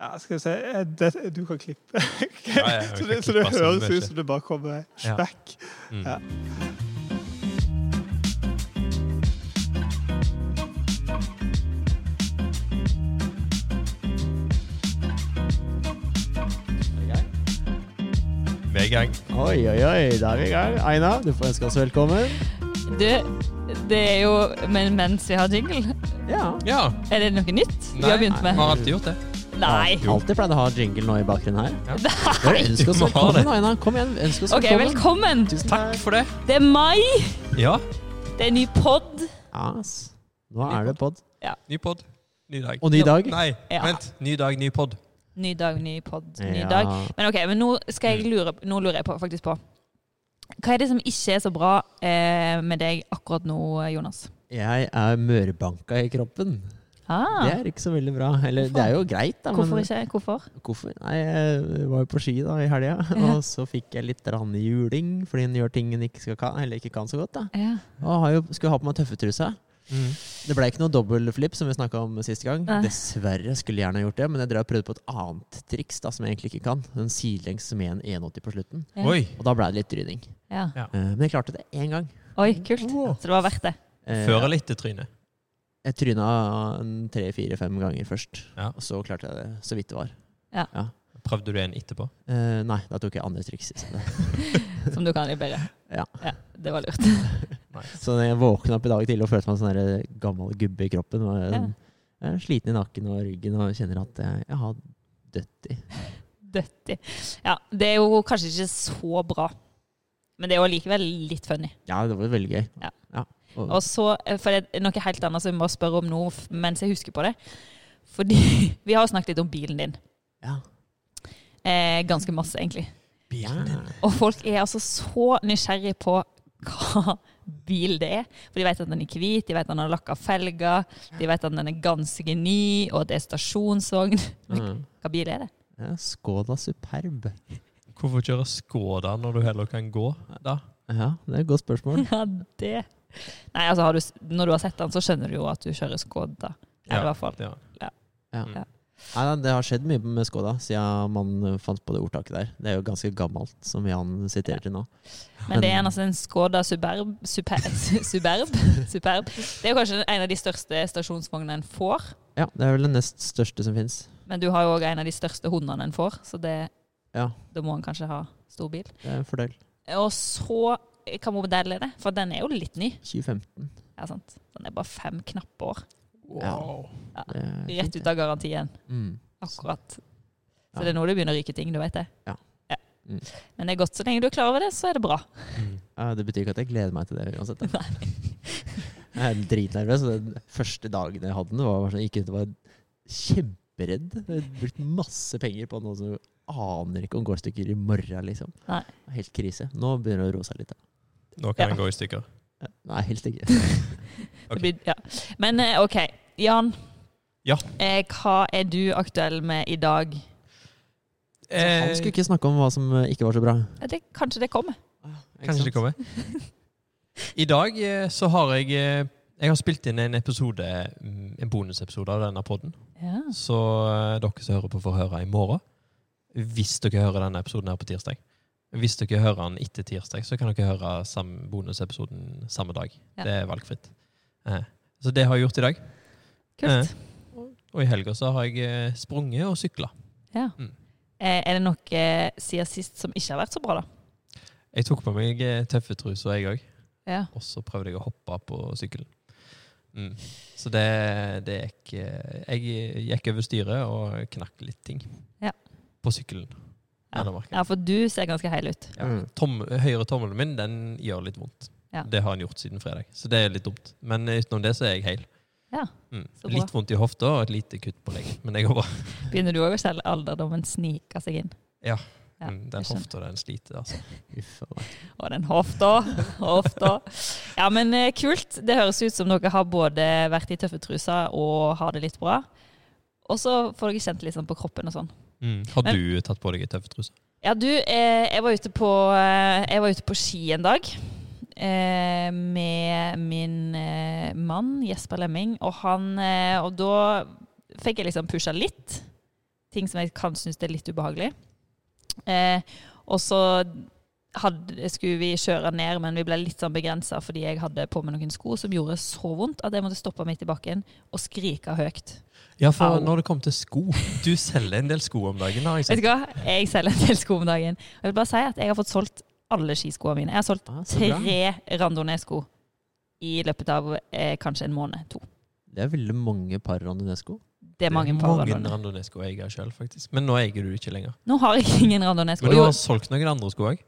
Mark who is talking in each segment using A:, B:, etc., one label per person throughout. A: Ja, skal vi se eh, det, Du kan klippe.
B: Ja, ja, vi
A: så
B: kan
A: det, så
B: klippe
A: det
B: sånn,
A: høres
B: det er
A: ut som det bare kommer
B: Ja.
A: smack.
B: Mm.
A: Ja.
B: Vi er i gang.
C: Oi, oi, oi, da er vi i gang. Aina, du får ønske oss velkommen.
D: Du, det er jo Men mens vi har jingle,
C: Ja.
B: Ja.
D: er det noe nytt vi
B: Nei.
D: har begynt
B: Vi
D: med?
B: har alltid gjort det.
D: Nei.
B: Jo.
C: Alltid pleide å ha jingle nå i bakgrunnen her.
B: Ja.
C: Bare ønsk oss
B: Du må ha det.
C: velkommen, Aina. Kom igjen, ønsk oss
D: OK, velkommen.
C: Tusen
B: Takk for det.
D: Det er mai,
B: Ja.
D: det er ny pod.
C: Yes. Nå er det pod.
B: Ny pod, ny dag.
C: Og ny dag.
B: Nei,
D: Ja.
B: vent. Ny dag, ny pod.
D: Ny dag, ny pod, ny
C: Ja.
D: dag. Men OK, men nå, skal jeg lure, nå lurer jeg på, faktisk på Hva er det som ikke er så bra eh, med deg akkurat nå, Jonas?
C: Jeg er mørbanka i kroppen. Det
D: Ah,
C: er ikke så veldig bra. Eller, det er jo greit, da.
D: hvorfor
C: men-
D: ikke? Hvorfor?
C: Hvorfor? Nei, jeg var jo på ski da i helga, og så fikk jeg litt rann i juling fordi en gjør ting en ikke, skal kan, eller ikke kan så godt. da.
D: Ja.
C: Og har jo, skulle ha på meg tøffetrusa.
B: Mm.
C: Det ble ikke noe dobbeltflip, som vi snakka om sist gang.
D: Nei.
C: Dessverre skulle jeg gjerne gjort det, men jeg drev og prøvde på et annet triks da, som jeg egentlig ikke kan. Den sidelengs med en 180 på slutten.
D: Ja.
B: Oi.
C: Og da ble det litt tryning.
D: ja.
C: Eh, Men jeg klarte det én gang.
D: Oi, kult. Så det var verdt det.
C: Eh,
B: Fører litt til trynet.
C: Jeg tryna en tre-fire-fem ganger først,
B: Ja.
C: og så klarte jeg det så vidt det var.
B: Prøvde du en etterpå?
C: Eh, Nei, da tok jeg andre triks. isteden.
D: Som du kan litt bedre.
C: Ja.
D: ja. Det var lurt.
C: Så når jeg våkna opp i dag tidlig og følte meg som en sånn der gammel gubbe i kroppen. Og jeg,
D: Ja.
C: jeg er sliten i nakken og ryggen og kjenner at jeg, jeg har dødd i.
D: Dødt i. Ja, det er jo kanskje ikke så bra, men det er jo allikevel litt funny.
C: Ja, det var veldig gøy.
D: Ja.
C: Og,
D: Og så, eh, for det er noe helt annet som vi må spørre om nå f- mens jeg husker på det. Fordi vi har jo snakket litt om bilen din.
C: ja.
D: Eh, ganske masse, egentlig.
C: Ja.
D: Og folk er altså så nysgjerrig på hva bil det er. For de vet at den er hvit, de vet at den har lakka felger, de vet at den er ganske ny, og at det er stasjonsvogn.
C: Mm.
D: Hva bil er det?
C: Ja, Skoda Superb.
B: Hvorfor kjøre Skoda når du heller kan gå da?
C: Ja, det er et godt spørsmål.
D: Ja, det Nei, altså, har du, s- når du har sett den, så skjønner du jo at du kjører Skoda. Ja, i hvert fall.
B: Ja.
C: Nei, da, det har skjedd mye med Skoda siden man eh, fant på det ordtaket der. Det er jo ganske gammelt, som Jan siterer til nå.
D: Men det er en, altså en Skoda Superb super, Superb? Superb. Det er jo kanskje en av de største stasjonsvognene en får.
C: Ja, det er vel den nest største som fins.
D: Men du har jo òg en av de største hundene en får, så det,
C: Ja.
D: da må en kanskje ha stor bil.
C: Det er en fordel.
D: Og så Hva modell er det? For den er jo litt ny.
C: 2015.
D: Ja, sant? Den er bare fem knappe år.
B: Wow.
C: Det er fint,
D: Rett ut av garantien.
C: det. Mm.
D: Akkurat.
C: Ja.
D: Så det er nå det begynner å ryke ting, du vet det.
C: Ja. Mm.
D: Men det er godt så lenge du er klar over det, så er det bra.
B: Mm.
C: Ja, det betyr ikke at jeg gleder meg til det uansett. Da. Jeg er dritnervøs. og Den første dagen jeg hadde den, var bare sånn, jeg gikk rundt og var kjemperedd. Jeg har brukt masse penger på noe som jeg aner ikke om går i stykker i morgen, liksom.
D: Nei.
C: Helt krise. Nå begynner det å roe seg litt. Da.
B: Nå kan
D: Ja.
B: den gå i stykker.
C: Ja, Nei, helt ikke.
B: Ok.
D: Det blir, ja. Men eh, OK, Jan.
B: Ja.
D: Eh, hva er du aktuell med i dag?
C: Han skulle ikke snakke om hva som eh, ikke var så bra.
D: Ja, Det, kanskje det kommer.
C: Ah, Ikke
B: Kanskje
C: sant?
B: det kommer. I dag eh, så har jeg eh, Jeg har spilt inn en episode, mm, en bonusepisode av denne podden.
D: Ja.
B: Så eh, dere som hører på, får høre i morgen. Hvis dere hører denne episoden her på tirsdag. Hvis dere hører den etter tirsdag, så kan dere høre sam bonusepisoden samme dag.
D: Ja.
B: Det er valgfritt. Eh, Så det har jeg gjort i dag.
D: Kult.
B: Og i helga så har jeg eh, sprunget og sykla.
D: Ja.
B: Mm.
D: Eh, er det noe eh, siden sist som ikke har vært så bra, da?
B: Jeg tok på meg eh, tøffe truser, jeg òg.
D: Ja.
B: Og så prøvde jeg å hoppe på sykkelen. Mm. Så det, det gikk eh, Jeg gikk over styret og knakk litt ting.
D: Ja.
B: På sykkelen.
D: Ja.
B: Nei, det var ikke-
D: ja, for du ser ganske heil ut.
B: Ja.
C: Mm.
B: Tom, høyre tommelen min den gjør litt vondt.
D: Ja.
B: Det har han gjort siden fredag, så det er litt dumt. Men utenom det så er jeg heil.
D: Ja.
B: Mm.
D: Så bra.
B: Litt vondt i hofta og et lite kutt på leggen, men det går bra.
D: Begynner du òg å selge alderdommen snike seg inn?
B: Ja.
D: Ja,
B: Mm, den
D: jeg skjønner.
B: hofta, den sliter, altså.
C: Uff, a meg.
D: Og den hofta. Hofta. Ja, men eh, kult. Det høres ut som dere har både vært i tøffe truser og har det litt bra. Og så får dere kjent litt sånn på kroppen og sånn.
B: Mm. Har
D: Men-
B: du tatt på deg ei tøff truse?
D: Ja, du, eh, jeg, var ute på, eh, jeg var ute på ski en dag eh, med min eh, mann Jesper Lemming, og han eh, Og da fikk jeg liksom pusha litt ting som jeg kan synes er litt ubehagelig. Eh, og så hadde, skulle vi kjøre ned, men vi ble litt sånn begrensa fordi jeg hadde på meg noen sko som gjorde så vondt at jeg måtte stoppe midt i bakken og skrike høyt.
B: Ja, for
D: Au.
B: når det kommer til sko Du selger en del sko om dagen. har jeg
D: Vet
B: sett.
D: du hva? Jeg selger en del sko om dagen. Og jeg vil bare si at jeg har fått solgt alle skiskoene mine. Jeg har solgt
C: Ah, så bra.
D: tre randonee-sko i løpet av eh, kanskje en måned. To.
C: Det er veldig mange par Rondinesco.
D: Det er mange
B: Det er
D: par
B: mange
D: randonee.
B: randonesko jeg eier sjøl, faktisk. Men nå eier du det ikke lenger.
D: Nå har jeg ingen randonee-sko.
B: Men du
D: Jo,
B: har solgt noen andre sko òg?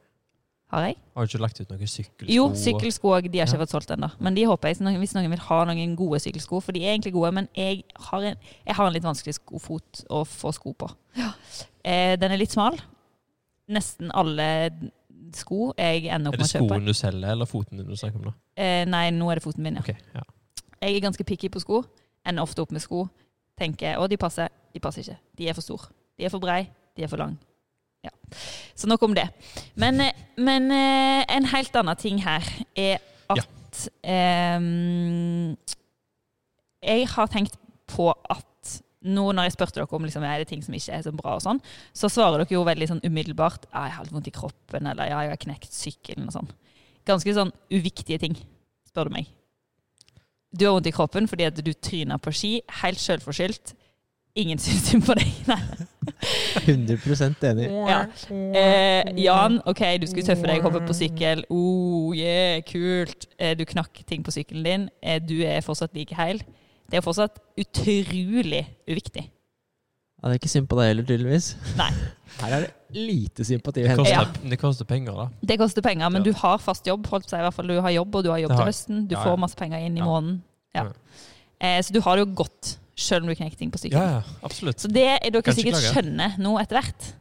D: har jeg?
B: Har du ikke lagt ut noen sykkelsko?
D: Jo, sykkelsko òg. De har ikke
B: Ja.
D: fått solgt ennå. Men de håper jeg, så noen- hvis noen vil ha noen gode sykkelsko. For de er egentlig gode, men jeg har en, jeg har en litt vanskelig skofot å få sko på. Eh, den er litt smal. Nesten alle sko jeg
B: Er
D: ender opp med
B: det
D: å kjøpe.
B: skoen du selger, eller foten din du snakker om nå?
D: Eh, nei, nå er det foten min, ja.
B: Ok, ja.
D: Jeg er ganske picky på sko. Ender ofte opp med sko. Tenker å, de passer. De passer ikke. De er for store. De er for brei. De er for lang. Ja. Så nok om det. Men, eh, men eh, en helt annen ting her er at ehm, Jeg har tenkt på at nå når jeg spurte dere om liksom, er det ting som ikke er så bra, og sånn, så svarer dere jo veldig sånn umiddelbart ja, 'Jeg har litt vondt i kroppen', eller 'Ja, jeg har knekt sykkelen', og sånn. Ganske sånn uviktige ting, spør du meg. Du har vondt i kroppen fordi at du tryna på ski, helt sjølforskyldt. Ingen syns synd på deg. Nei.
C: 100 enig.
D: Ja. Eh, Jan, OK, du skulle tøffe deg, hoppe på sykkel. Oh, yeah, kult. Eh, du knakk ting på sykkelen din. Eh, du er fortsatt like heil. Det er fortsatt utrolig uviktig.
C: Ja, det er ikke synd på deg heller, tydeligvis.
D: Nei.
C: Her er det lite sympati å
B: Det
C: hente.
B: koster,
D: Ja.
B: det koster penger, da.
D: Det koster penger, men
B: Ja.
D: du har fast jobb. Holdt på å si, i hvert fall Du har jobb, og du har jobb
B: Det har
D: til
B: jeg.
D: høsten. Du
B: Ja, ja.
D: får masse penger inn i
B: Ja.
D: måneden. Ja.
B: Ja.
D: Eh, så du har det jo godt, sjøl om du knekker ting på
B: Ja,
D: sykkelen.
B: ja, absolutt.
D: Så det dere
B: Kan ikke
D: sikkert
B: klage.
D: skjønner nå etter hvert,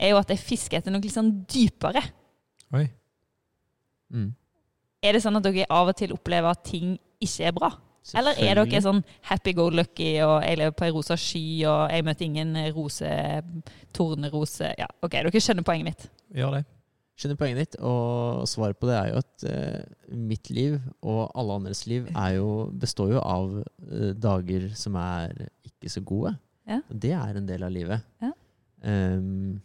D: er jo at jeg fisker etter noe litt sånn dypere.
B: Oi.
C: Mm.
D: Er det sånn at dere av og til opplever at ting ikke er bra? Eller er dere sånn happy-go-lucky, og jeg lever på ei rosa sky, og jeg møter ingen rose, tornerose Ja, OK, dere skjønner poenget mitt.
B: Gjør det.
C: Skjønner poenget ditt, og svaret på det er jo at eh, mitt liv og alle andres liv er jo, består jo av eh, dager som er ikke så gode.
D: Ja.
C: Og det er en del av livet.
D: Ja.
C: Ehm,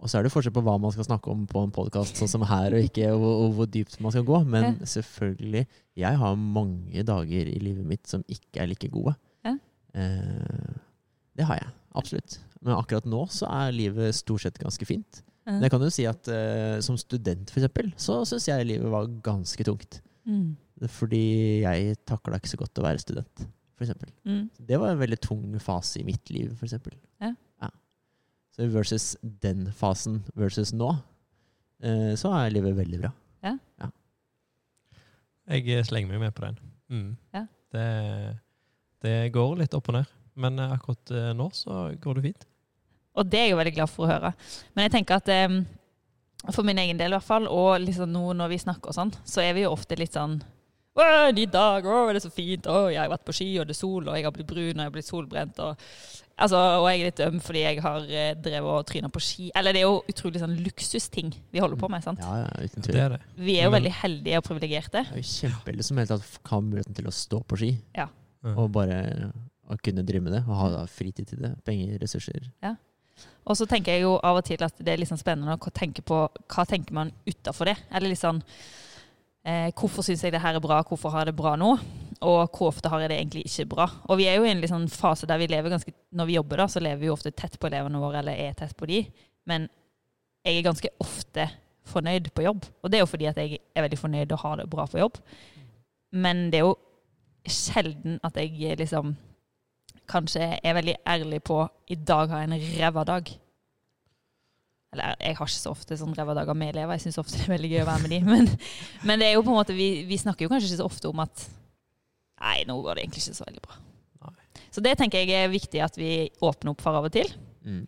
C: og så er det forskjell på hva man skal snakke om på en podkast, sånn som her, og ikke og, og hvor dypt man skal gå. Men
D: Ja.
C: selvfølgelig, jeg har mange dager i livet mitt som ikke er like gode.
D: Ja.
C: Eh, det har jeg. Absolutt. Men akkurat nå så er livet stort sett ganske fint. Men jeg kan jo si at eh, som student, for eksempel, så syns jeg livet var ganske tungt.
D: Mm.
C: Fordi jeg takla ikke så godt å være student, for eksempel.
D: Mm.
C: Det var en veldig tung fase i mitt liv, for eksempel.
D: Ja.
C: Så versus den fasen versus nå, eh, så er livet veldig bra.
B: Jeg eh, slenger meg med på den. Mm.
D: Ja.
B: Det, det går litt opp og ned. Men eh, akkurat eh, nå så går det fint.
D: Og det er jeg jo veldig glad for å høre. Men jeg tenker at eh, for min egen del i hvert fall, og liksom nå når vi snakker og sånn, så er vi jo ofte litt sånn «Åh, ny dag, åh, det er så fint, åh, jeg har vært på ski, og det er sol, og jeg har blitt brun, og jeg har blitt solbrent, og, altså, og jeg er litt øm fordi jeg har eh, drevet og trynet på ski. Eller det er jo utrolig sånn luksusting vi holder på med, sant?
C: Ja, ja, uten
B: Det
C: tvil.
B: er det.
D: Vi er jo
B: Men-
D: veldig heldige og privilegierte.
C: Det er jo kjempeheldig som helt tatt kan ha muligheten til å stå på ski.
D: Ja.
B: Mm.
C: Og bare å kunne drive med det, og ha da fritid til det. Penger, ressurser.
D: Og så tenker jeg jo av og til at det er litt sånn spennende å tenke på hva tenker man utenfor det. Eller litt sånn eh, Hvorfor syns jeg det her er bra, hvorfor har jeg det bra nå? Og hvor ofte har jeg det egentlig ikke bra? Og vi er jo i en litt sånn fase der vi lever ganske Når vi jobber, da, så lever vi jo ofte tett på elevene våre, eller er tett på de. Men jeg er ganske ofte fornøyd på jobb. Og det er jo fordi at jeg er veldig fornøyd og har det bra på jobb. Men det er jo sjelden at jeg liksom kanskje er veldig ærlig på i dag har jeg en ræva dag. Eller jeg har ikke så ofte sånn ræva dager med elever. Jeg syns ofte det er veldig gøy å være med de. Men, men det er jo på en måte, vi, vi snakker jo kanskje ikke så ofte om at Nei, nå går det egentlig ikke så veldig bra.
B: Nei.
D: Så det tenker jeg er viktig at vi åpner opp for av og til.
C: Mm.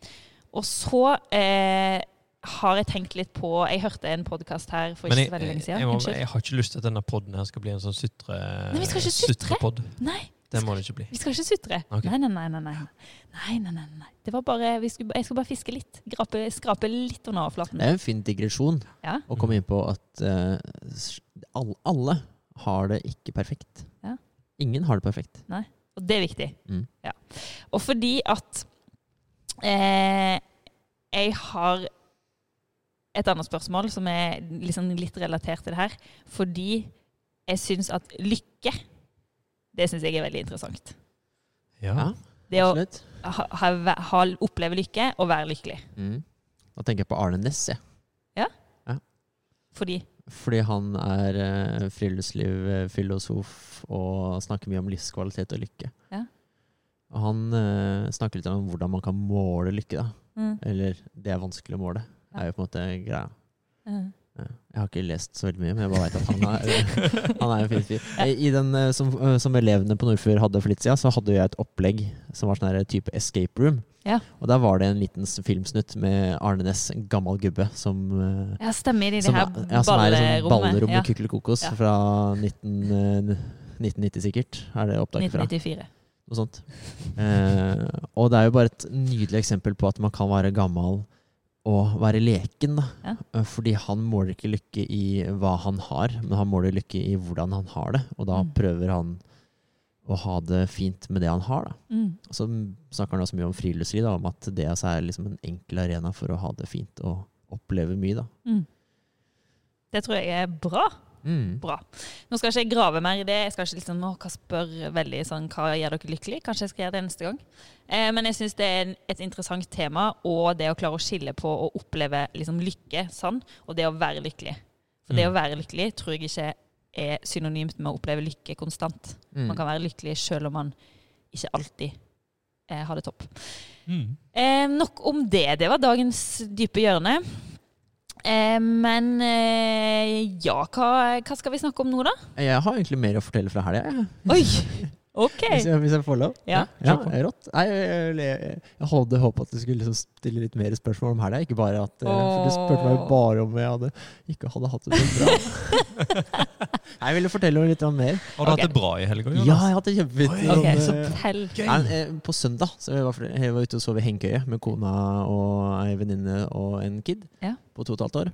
D: Og så eh, har jeg tenkt litt på Jeg hørte en podkast her for
B: Men
D: ikke
B: jeg,
D: så veldig lenge
B: jeg,
D: siden.
B: må,
D: Unnskyld.
B: jeg har ikke lyst til at denne podden her skal bli en sånn sutre...
D: Nei, vi skal ikke sutre.
B: sutrepodd.
D: Nei,
B: Det må det ikke bli.
D: vi skal ikke sutre.
B: Ok.
D: Nei, nei, nei, nei, nei. nei, nei, nei, nei. Det var bare, vi skulle, Jeg skulle bare fiske litt. Grape, skrape litt under overflaten.
C: Det er en fin digresjon
D: Ja.
C: å komme inn på at eh, s- all, alle har det ikke perfekt.
D: Ja.
C: Ingen har det perfekt.
D: Og det er viktig.
C: Mm.
D: Ja. Og fordi at Eh, jeg har et annet spørsmål som er liksom litt relatert til det her. Fordi jeg syns at lykke, det syns jeg er veldig interessant.
B: Ja.
D: Det å
C: Absolutt.
D: ha, ha, ha, oppleve lykke og være lykkelig.
C: Mm. Da tenker jeg på Arne Næss, jeg.
D: Fordi
C: Fordi han er eh, friluftslivfilosof og snakker mye om livskvalitet og lykke.
D: Ja.
C: Og han eh, snakker litt om hvordan man kan måle lykke, da. Eller det er vanskelig å måle. Det er jo på en måte greia.
D: Mm.
C: Ja. Jeg har ikke lest så veldig mye, men jeg bare veit at han er, han er en fin fyr. Eh, I den eh, som, eh, som elevene på Nordfjord hadde for litt siden, så hadde jo jeg et opplegg som var sånn her type escape room.
D: Ja.
C: Og der var det en liten s- filmsnutt med Arne Næss, en gammel gubbe, som eh,
D: Ja, stemmer. I det
C: som,
D: her
C: er- ja, som er liksom ballerom
D: Ja,
C: med kuklekokos
D: Ja.
C: fra 19, eh, 1990 sikkert, er det opptaket fra.
D: 1994.
C: Noe sånt. Eh, og det er jo bare et nydelig eksempel på at man kan være gammel og være leken. Da.
D: Ja.
C: Eh, Fordi han måler ikke lykke i hva han har, men han måler lykke i hvordan han har det. Og da
D: Mm.
C: prøver han å ha det fint med det han har. Da.
D: Mm.
C: Og så snakker han også mye om friluftsliv, da, om at det altså er liksom en enkel arena for å ha det fint og oppleve mye. Da.
D: Mm. Det tror jeg er bra.
C: Mm.
D: Bra. Nå skal ikke jeg grave mer i det. Jeg skal ikke liksom, å, hva spør veldig sånn, hva gjør dere lykkelig? Kanskje jeg skal gjøre det neste gang. Eh, men jeg syns det er en, et interessant tema, og det å klare å skille på å oppleve liksom, lykke sann, og det å være lykkelig. For det
B: Mm.
D: å være lykkelig tror jeg ikke er synonymt med å oppleve lykke konstant.
C: Mm.
D: Man kan være lykkelig selv om man ikke alltid eh, har det topp.
B: Mm.
D: Eh, nok om det. Det var dagens dype hjørne. Eh, men eh, ja, hva, hva skal vi snakke om nå, da?
C: Jeg har egentlig mer å fortelle fra helga, jeg.
D: Oi! OK.
C: Hvis jeg, hvis jeg får lov?
D: Ja.
C: ja eh, rått. Nei, jeg, jeg, jeg, jeg hadde håpa at du skulle liksom stille litt mer spørsmål om helga. Ikke bare at eh, For du spurte meg
D: Åh.
C: bare om jeg hadde ikke hadde hatt det så bra. Nei, jeg ville fortelle om litt om mer.
B: Har du
D: Ok.
B: hatt det bra i helga,
C: Ja, jeg
B: Jonas?
C: har hatt det kjempefint.
D: Ok,
C: Sånn,
D: så
C: eh,
D: tell.
B: Gøy!
C: Nei, men, eh, på søndag så jeg var, fl- jeg var ute og sov i hengekøye med kona og ei venninne og en kid
D: Ja.
C: på to og et halvt år.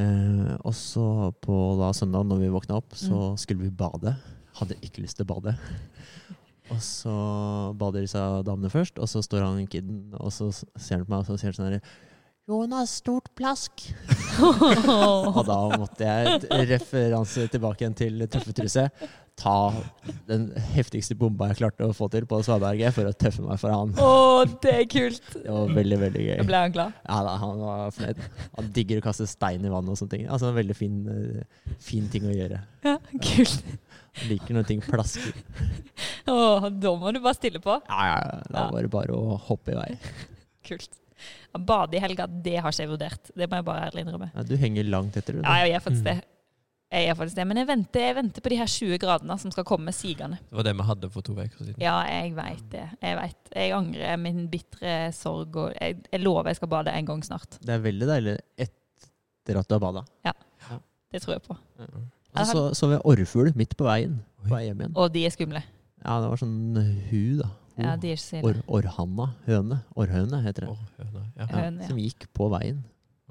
C: Eh, og så på da søndag når vi våkna opp, så skulle vi bade. Hadde ikke lyst til å bade. Og så bader disse damene først, og så står han kiden og så s- ser han på meg og så sier han sånn her Jonas, stort plask! Og da måtte jeg et referanse tilbake igjen til Tøffe Truse. Ta den heftigste bomba jeg klarte å få til på Svaberget for å tøffe meg for han.
D: Å, det er kult.
C: Det var veldig, veldig gøy.
D: Ble han glad?
C: Ja, da, han var fornøyd. Han digger å kaste stein i vann og sånne ting. Altså en veldig fin, eh, fin ting å gjøre.
D: Ja, kult.
C: Han liker når ting plasker.
D: Å, da må du bare stille på.
C: Ja, ja, ja. Da var det bare å hoppe i vei.
D: Kult. Ja, Bade i helga, det har ikke jeg vurdert. Det må jeg bare ærlig innrømme.
C: Ja, du henger langt etter, du.
D: Ja,
C: Da.
D: jeg gjør faktisk
B: Mm.
D: det. Jeg gjør faktisk det. Men jeg venter, jeg venter på de her 20 gradene som skal komme sigende.
B: Det var det vi hadde for to uker siden.
D: Ja, jeg veit det. Jeg vet. Jeg angrer min bitre sorg. Og jeg, jeg lover jeg skal bade en gang snart.
C: Det er veldig deilig etter at du har bada.
D: Det tror jeg på.
C: Og så så vi orrfugl midt på veien på vei hjem igjen.
D: Og de er skumle.
C: Ja, det var sånn hu, da. Ho.
D: Ja, de er ikke så ille.
C: Or, orhanna. Høne. Orrhøne heter det.
B: Åh, høna, ja.
C: Ja,
D: Høne, ja.
C: som gikk på veien.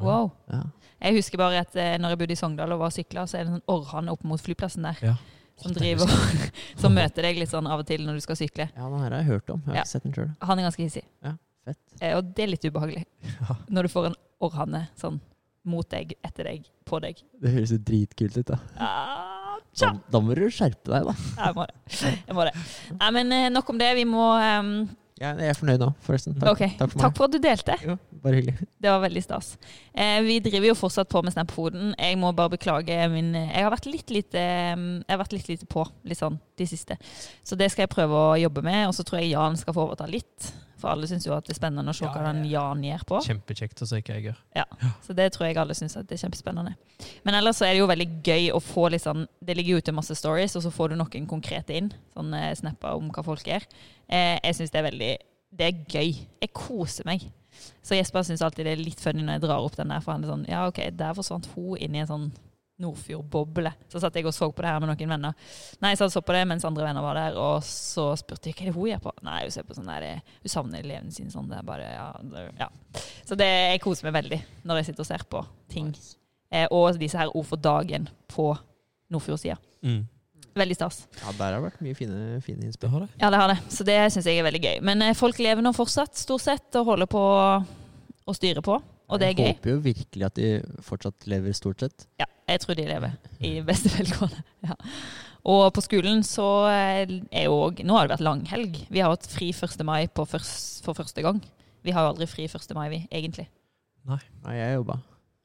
D: Wow.
C: Ja.
D: Jeg husker bare at eh, når jeg bodde i Sogndal og var og sykla, så er det en sånn orrhann opp mot flyplassen der.
B: Ja.
D: Som driver Som møter deg litt sånn av og til når du skal sykle.
C: ja, den her har jeg hørt om. Jeg har
D: Ja.
C: ikke sett den sjøl.
D: Han er ganske hissig.
C: Ja, fett.
D: Eh, Og det er litt ubehagelig.
B: Ja.
D: Når du får en orrhanne sånn mot deg, etter deg, på deg.
C: Det høres jo dritkult ut, da.
D: Ah,
C: da.
D: tja!
C: Da må du skjerpe deg, da.
D: Jeg må det. Jeg må det. Nei, men eh, nok om det. Vi må eh,
C: Jeg, jeg er fornøyd nå, forresten. Takk,
D: ok.
C: takk for meg.
D: Takk for at du delte.
C: Jo, bare hyggelig.
D: Det var veldig stas. Eh, vi driver jo fortsatt på med Snap-foden. Jeg må bare beklage min Jeg har vært litt lite, eh, jeg har vært litt lite på litt sånn, de siste. Så det skal jeg prøve å jobbe med. Og så tror jeg Jan skal få overta litt. For alle syns jo at det er spennende å se
B: Ja,
D: hva den Jan gjør på.
B: Kjempekjekt å se hva jeg gjør.
D: Så det tror jeg alle syns at det er kjempespennende. Men ellers så er det jo veldig gøy å få litt sånn Det ligger jo ute masse stories, og så får du noen konkrete inn. Sånne snapper om hva folk gjør. Eh, jeg syns det er veldig Det er gøy. Jeg koser meg. Så Jesper syns alltid det er litt funny når jeg drar opp den der, for han er sånn Ja, OK, der forsvant hun inn i en sånn Nordfjordboble. Så satt jeg og så på det her med noen venner. Nei, jeg satt og så på det mens andre venner var der, og så spurte jeg hva er det hun gjør på. Nei, hun ser på sånn der Hun savner elevene sine sånn. Det er bare Ja. Det, ja. Så det, jeg koser meg veldig når jeg sitter og ser på ting. Eh, og disse her ord for dagen på Nordfjordsida. Veldig stas.
C: Ja, der har det vært mye fine, fine
B: Mm. Det
C: innspill.
B: har det.
D: Ja, det har det. Så det syns jeg er veldig gøy. Men eh, folk lever nå fortsatt, stort sett, og holder på å styre på. Og det er gøy.
C: Jeg håper jo virkelig at de fortsatt lever stort sett.
D: Ja, jeg tror de lever i beste velgående. Ja. Og på skolen så eh, er jo òg Nå har det vært langhelg. Vi har hatt fri 1. mai på først, for første gang. Vi har jo aldri fri 1. mai, vi, egentlig.
C: Nei, jeg jobba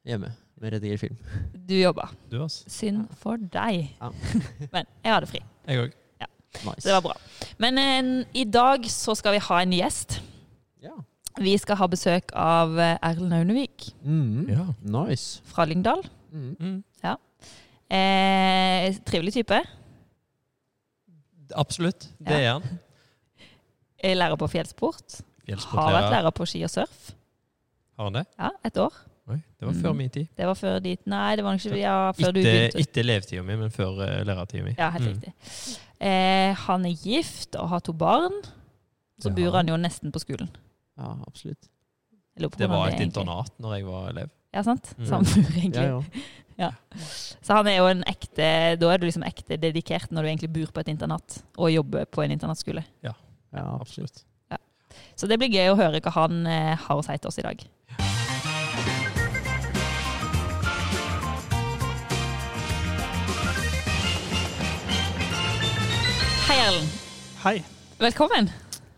C: hjemme med rediger film.
D: Du jobber.
B: Du, ass.
D: Synd for deg.
C: Ja.
D: Men jeg hadde fri.
B: Jeg òg.
C: Nice.
D: Så det var bra. Men eh, i dag så skal vi ha en gjest.
C: Ja.
D: Vi skal ha besøk av eh, Erlend Aunevik
C: Mhm.
B: Ja.
C: Nice.
D: fra Lyngdal.
C: Mhm.
B: Mm.
D: Eh, trivelig type.
B: Absolutt. Det er han.
D: Jeg er Eh, Lærer på fjellsport. Har vært
B: Fjellsportlærer.
D: lærer på ski og surf.
B: Har han det?
D: Ja, et år.
B: Oi, det var før
D: Mm.
B: min tid.
D: Det var før dit Nei, det var nok ikke ja, før du
B: Ikke,
D: begynte.
B: ikke levetida mi, men før uh, lærertida mi.
D: Ja, helt
B: Mm.
D: riktig. Eh, han er gift og har to barn. Så
B: Ja.
D: bor han jo nesten på skolen.
C: Ja, absolutt.
D: Jeg lurer på
B: Det
D: hvordan
B: var et
D: egentlig-
B: internat når jeg var elev.
D: Ja, sant?
B: Mm.
D: Samme bur, egentlig.
C: Ja, ja.
D: Så han er jo en ekte Da er du liksom ekte dedikert når du egentlig bor på et internat og jobber på en internatskole.
C: ja, absolutt.
B: Absolutt.
D: Så det blir gøy å høre hva han eh, har å si til oss i dag. Hei, Erlend.
A: Hei.
D: Velkommen.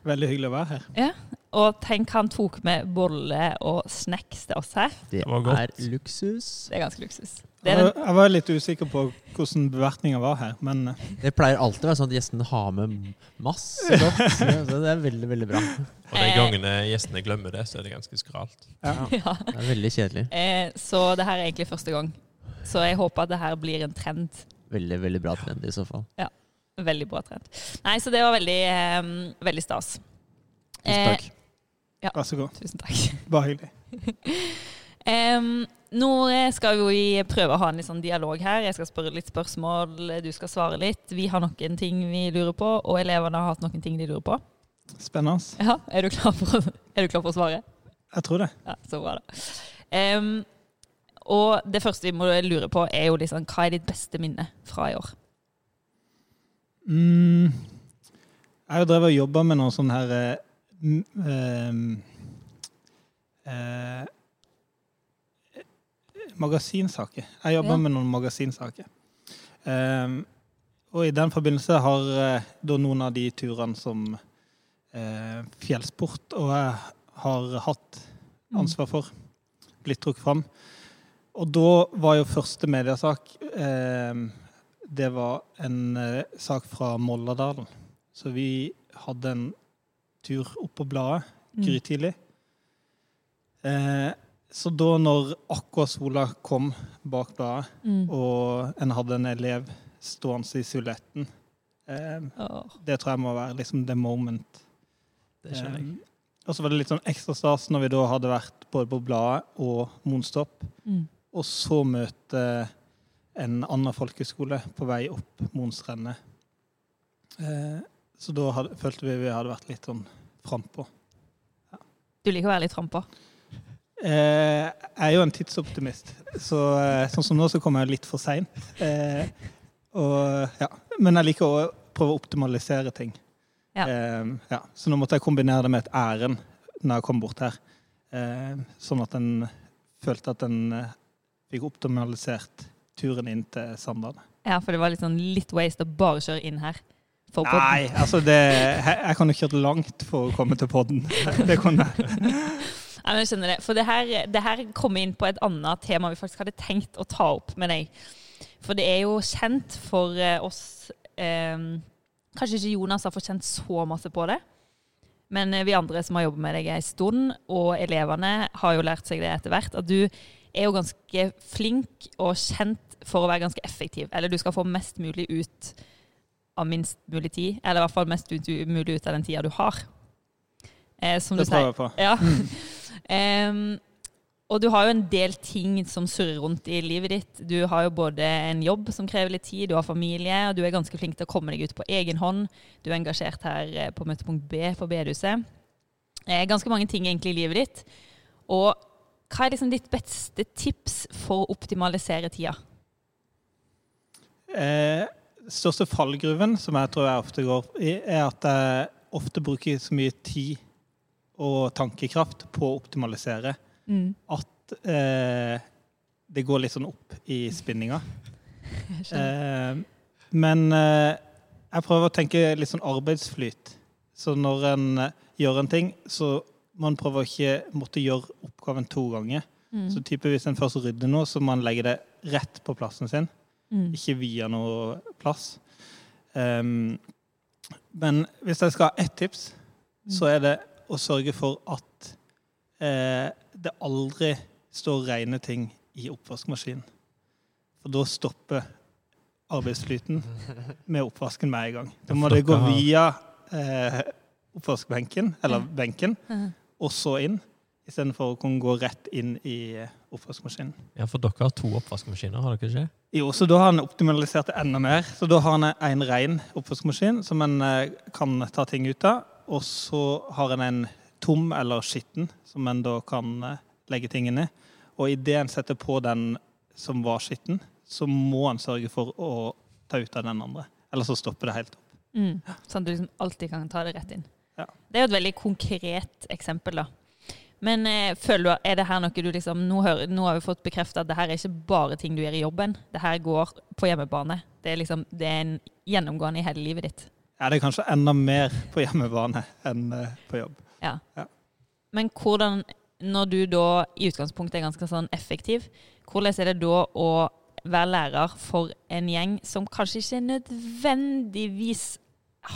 A: Veldig hyggelig å være her.
D: Og tenk, han tok med bolle og snacks til oss her.
C: Det,
B: Det var godt.
C: er luksus.
D: Det er ganske luksus. Det
A: Jeg
D: er
A: var,
D: den,
A: jeg var litt usikker på hvordan bevertninga var her, men eh,
C: Det pleier alltid å være sånn at gjestene har med masse godt. Så det er veldig, veldig bra.
B: Og de
D: Eh.
B: gangene gjestene glemmer det, så er det ganske skralt.
A: ja.
D: ja.
C: Det er veldig kjedelig.
D: Eh, Så det her er egentlig første gang. Så jeg håper at det her blir en trend.
C: Veldig, veldig bra trend i så fall.
D: Veldig bra trend. Nei, så det var veldig, eh, veldig stas.
C: Tusen takk.
A: vær så god.
D: Eh, tusen takk.
A: Bare hyggelig.
D: Em, nå eh, skal vi prøve å ha en litt sånn dialog her. Jeg skal spørre litt spørsmål, du skal svare litt. Vi har noen ting vi lurer på, og elevene har hatt noen ting de lurer på.
A: Spennende.
D: Ja, Er du klar for, å- er du klar for å svare?
A: Jeg tror det.
D: Ja, Så bra, da. Em, og det første vi må lure på, er jo liksom hva er ditt beste minne fra i år?
A: Mm, jeg har drevet og jobba med noe sånn her eh, m- ehm, eh, Magasinsaker. Jeg jobber
D: Ja.
A: med noen magasinsaker. Ehm, og i den forbindelse har eh, da noen av de turene som eh, fjellsport og jeg har hatt Mm.
D: Mm.
A: ansvar for, blitt trukket fram. Og da var jo første mediesak ehm, det var en eh, sak fra Molladalen. Så vi hadde en tur opp på bladet
D: Mm.
A: grytidlig. Eh, så da når akkurat sola kom bak bladet,
D: Mm.
A: og en hadde en elev stående i silhuetten eh,
D: Åh.
A: Det tror jeg må være liksom the moment.
B: Det skjønner jeg.
A: Eh, og så var det litt sånn ekstra stas når vi da hadde vært både på bladet og Monstopp
D: Mm.
A: og så møte en annen folkeskole på vei opp Monsrennet. Eh, så da hadde, følte vi vi hadde vært litt sånn frampå.
D: Du liker å være litt frampå.
A: Eh, jeg er jo en tidsoptimist, så eh, sånn som nå så kommer jeg litt for sein. Eh, og, ja. Men jeg liker å prøve å optimalisere ting.
D: Ja.
A: Eh, ja. Så nå måtte jeg kombinere det med et ærend når jeg kom bort her. Eh, sånn at en følte at en eh, fikk optimalisert turen inn til Sandane.
D: Ja, for det var litt sånn litt waste å bare kjøre inn her. For podden.
A: Nei, altså det, jeg, jeg kan jo kjøre langt for å komme til podden. Det kan jeg.
D: Nei, men jeg skjønner det. For det her, det her kommer inn på et annet tema vi faktisk hadde tenkt å ta opp med deg. For det er jo kjent for eh, oss eh, Kanskje ikke Jonas har fått kjent så masse på det. Men eh, vi andre som har jobbet med deg en stund, og elevene har jo lært seg det etter hvert, at du er jo ganske flink og kjent for å være ganske effektiv. Eller du skal få mest mulig ut av minst mulig tid. Eller i hvert fall mest ut, mulig ut av den tida du har. Eh, som
A: Det
D: du sier.
A: prøver jeg på.
D: Ja. Em, og du har jo en del ting som surrer rundt i livet ditt. Du har jo både en jobb som krever litt tid, du har familie, og du er ganske flink til å komme deg ut på egen hånd. Du er engasjert her eh, på møtepunkt B på bedehuset. Eh, ganske mange ting egentlig i livet ditt. Og hva er liksom ditt beste tips for å optimalisere tida?
A: Eh, største fallgruven, som jeg tror jeg ofte går i, er at jeg ofte bruker så mye tid og tankekraft på å optimalisere
D: Mm.
A: at eh, det går litt sånn opp i spinninga.
D: Jeg skjønner.
A: Eh, men eh, jeg prøver å tenke litt sånn arbeidsflyt. Så når en eh, gjør en ting, så man prøver å ikke måtte gjøre oppgaven to ganger.
D: Mm.
A: Eh, Så type hvis en først rydder noe, så må en legge det rett på plassen sin.
D: Mm.
A: Ikke via noe plass. Ehm, men hvis jeg skal ha ett tips, så er det å sørge for at eh, det aldri står rene ting i oppvaskmaskinen. For da stopper arbeidsflyten med oppvasken med en gang. Da må
B: For
A: det gå
B: dere har-
A: via eh, oppvaskbenken, eller benken,
D: Mhm.
A: og så inn. Istedenfor å kunne gå rett inn i oppvaskmaskinen.
B: Ja, for dere har to oppvaskmaskiner, har dere ikke?
A: Jo, så da har han optimalisert det enda mer. Så da har han en ren oppvaskmaskin som en eh, kan ta ting ut av. Og så har han en tom eller skitten som en da kan eh, legge ting inn i. Og idet en setter på den som var skitten, så må en sørge for å ta ut av den andre. Eller så stopper det helt opp.
D: Mm. Sånn at du liksom alltid kan ta det rett inn.
A: Ja.
D: Det er jo et veldig konkret eksempel, da. Men eh, føler du, er det her noe du liksom Nå, hører, nå har vi fått bekrefta at det her er ikke bare ting du gjør i jobben. Det her går på hjemmebane. Det er liksom Det er en gjennomgående i hele livet ditt.
A: Ja, det er kanskje enda mer på hjemmebane enn eh, på jobb.
D: Ja.
A: Ja.
D: Men hvordan Når du da i utgangspunktet er ganske sånn effektiv, hvordan er det da å være lærer for en gjeng som kanskje ikke nødvendigvis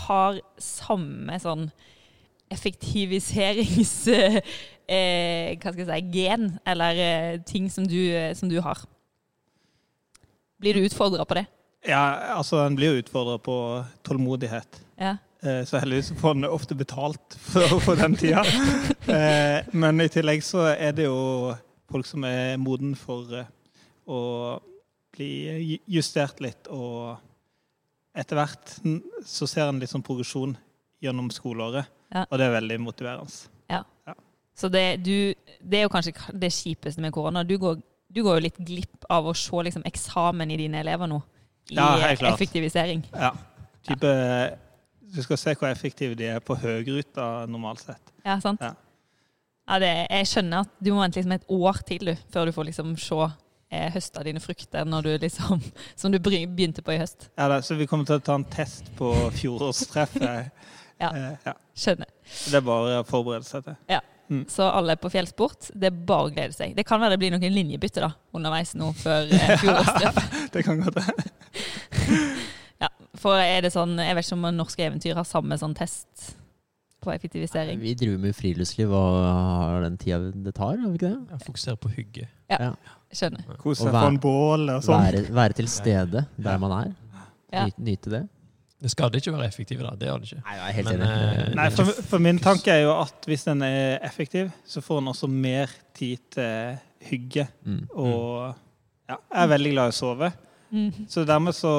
D: har samme sånn effektiviserings... Eh, hva skal jeg si gen, eller eh, ting som du, som du har. Blir du utfordra på det?
A: Ja, altså en blir jo utfordra på tålmodighet.
D: Ja.
A: Eh, Så heldigvis får en ofte betalt for, for den tida. Eh, Men i tillegg så er det jo folk som er moden for eh, å bli ju- justert litt, og etter hvert n- så ser en litt sånn progresjon gjennom skoleåret,
D: Ja.
A: og det er veldig motiverende.
D: Så det, du, det er jo kanskje k- det kjipeste med korona. Du går, du går jo litt glipp av å se liksom, eksamen i dine elever nå. I
A: Ja, helt klart.
D: effektivisering.
A: Ja. Type, du skal se hvor effektive de er på høgruta normalt sett.
D: Ja, sant?
A: Ja.
D: Ja. det, jeg skjønner at du må vente liksom et år til du, før du får liksom, se eh, høste av dine frukter når du, liksom, som du bry- begynte på i høst.
A: Ja, da, så vi kommer til å ta en test på fjorårstreffet.
D: Ja.
A: Eh, ja.
D: Skjønner.
A: Det er bare å forberede seg til.
D: Så alle på fjellsport, det er bare å glede seg. Det kan være det blir noen linjebytte da, underveis nå før eh, fjorårstreffet.
A: Det kan godt være.
D: Ja, for er det sånn, jeg vet ikke om norske eventyr har samme sånn test på effektivisering.
C: Vi driver med friluftsliv og har den tida det tar, har vi ikke det?
B: Jeg fokuserer på hygge.
D: Skjønner.
A: Kose
C: Og
A: seg
C: væ-
A: på en bål og sånn.
C: Være, være til stede der man er.
D: Ja.
C: Nyte, nyte det.
B: Det skal ikke være effektive, da. Det har det ikke.
C: Nei, jeg er helt
B: Men, eh,
C: enig.
A: Nei, for, for min tanke er jo at hvis den er effektiv, så får en også mer tid til hygge.
C: Mm.
A: Og ja, jeg er veldig glad i å sove.
D: Mhm.
A: Så dermed så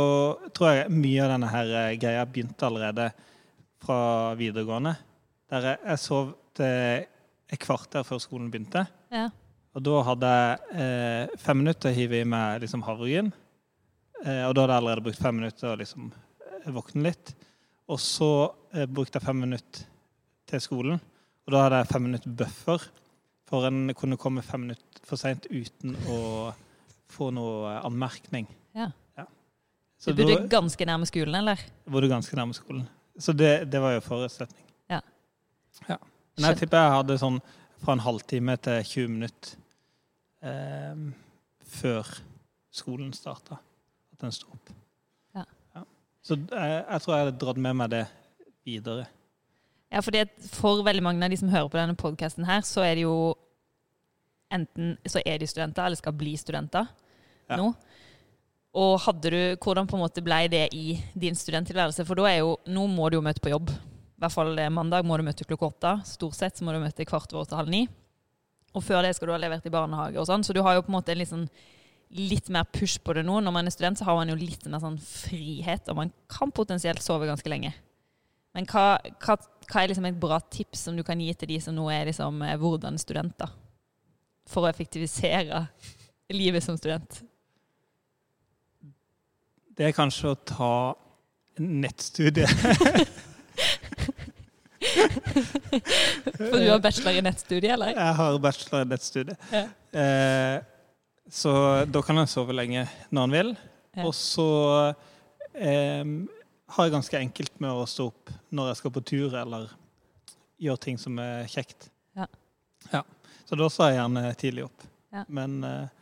A: tror jeg mye av denne her eh, greia begynte allerede fra videregående. Der jeg, jeg sov til et kvarter før skolen begynte.
D: Ja.
A: Og da hadde jeg eh, fem minutter til å hive i meg liksom, havregryn. Eh, og da hadde jeg allerede brukt fem minutter og liksom eh, våkne litt. Og så eh, brukte jeg fem minutter til skolen. Og da hadde jeg fem minutter buffer, for en kunne komme fem minutter for seint uten å få noe eh, anmerkning.
D: Ja.
A: Så
D: Du
A: da
D: bodde ganske nærme skolen, eller?
A: var du ganske nærme skolen. Så det, det var jo forutsetning.
D: Ja.
A: ja. Men jeg
D: Skjønt.
A: tipper jeg hadde sånn fra en halvtime til 20 minutter eh, før skolen starta, at den sto opp.
D: Ja.
A: Så jeg, jeg tror jeg hadde dratt med meg det videre.
D: Ja, fordi at for veldig mange av de som hører på denne podkasten her, så er det jo enten så er de studenter, eller skal bli studenter
A: Ja.
D: nå. Og hadde du, hvordan på en måte ble det i din studenttilværelse? For da er jo, nå må du jo møte på jobb. I hvert fall eh, mandag må du møte klokka åtte. Stort sett så må du møte kvart over åtte halv ni. Og før det skal du ha levert i barnehage og sånn. Så du har jo på en måte en litt sånn litt mer push på det nå. Når man er student, så har man jo litt mer sånn frihet, og man kan potensielt sove ganske lenge. Men hva, hva, hva er liksom et bra tips som du kan gi til de som nå er liksom, eh, hvordan studenter? For å effektivisere livet som student.
A: det er kanskje å ta en nettstudie.
D: For du har bachelor i nettstudie, eller?
A: Jeg har bachelor i nettstudie.
D: Ja.
A: Eh, så da kan han sove lenge når han vil.
D: Ja.
A: Og så eh, har jeg ganske enkelt med å stå opp når jeg skal på tur eller gjøre ting som er kjekt.
D: Ja.
A: Ja. Så da står jeg gjerne tidlig opp.
D: Ja.
A: Men, eh,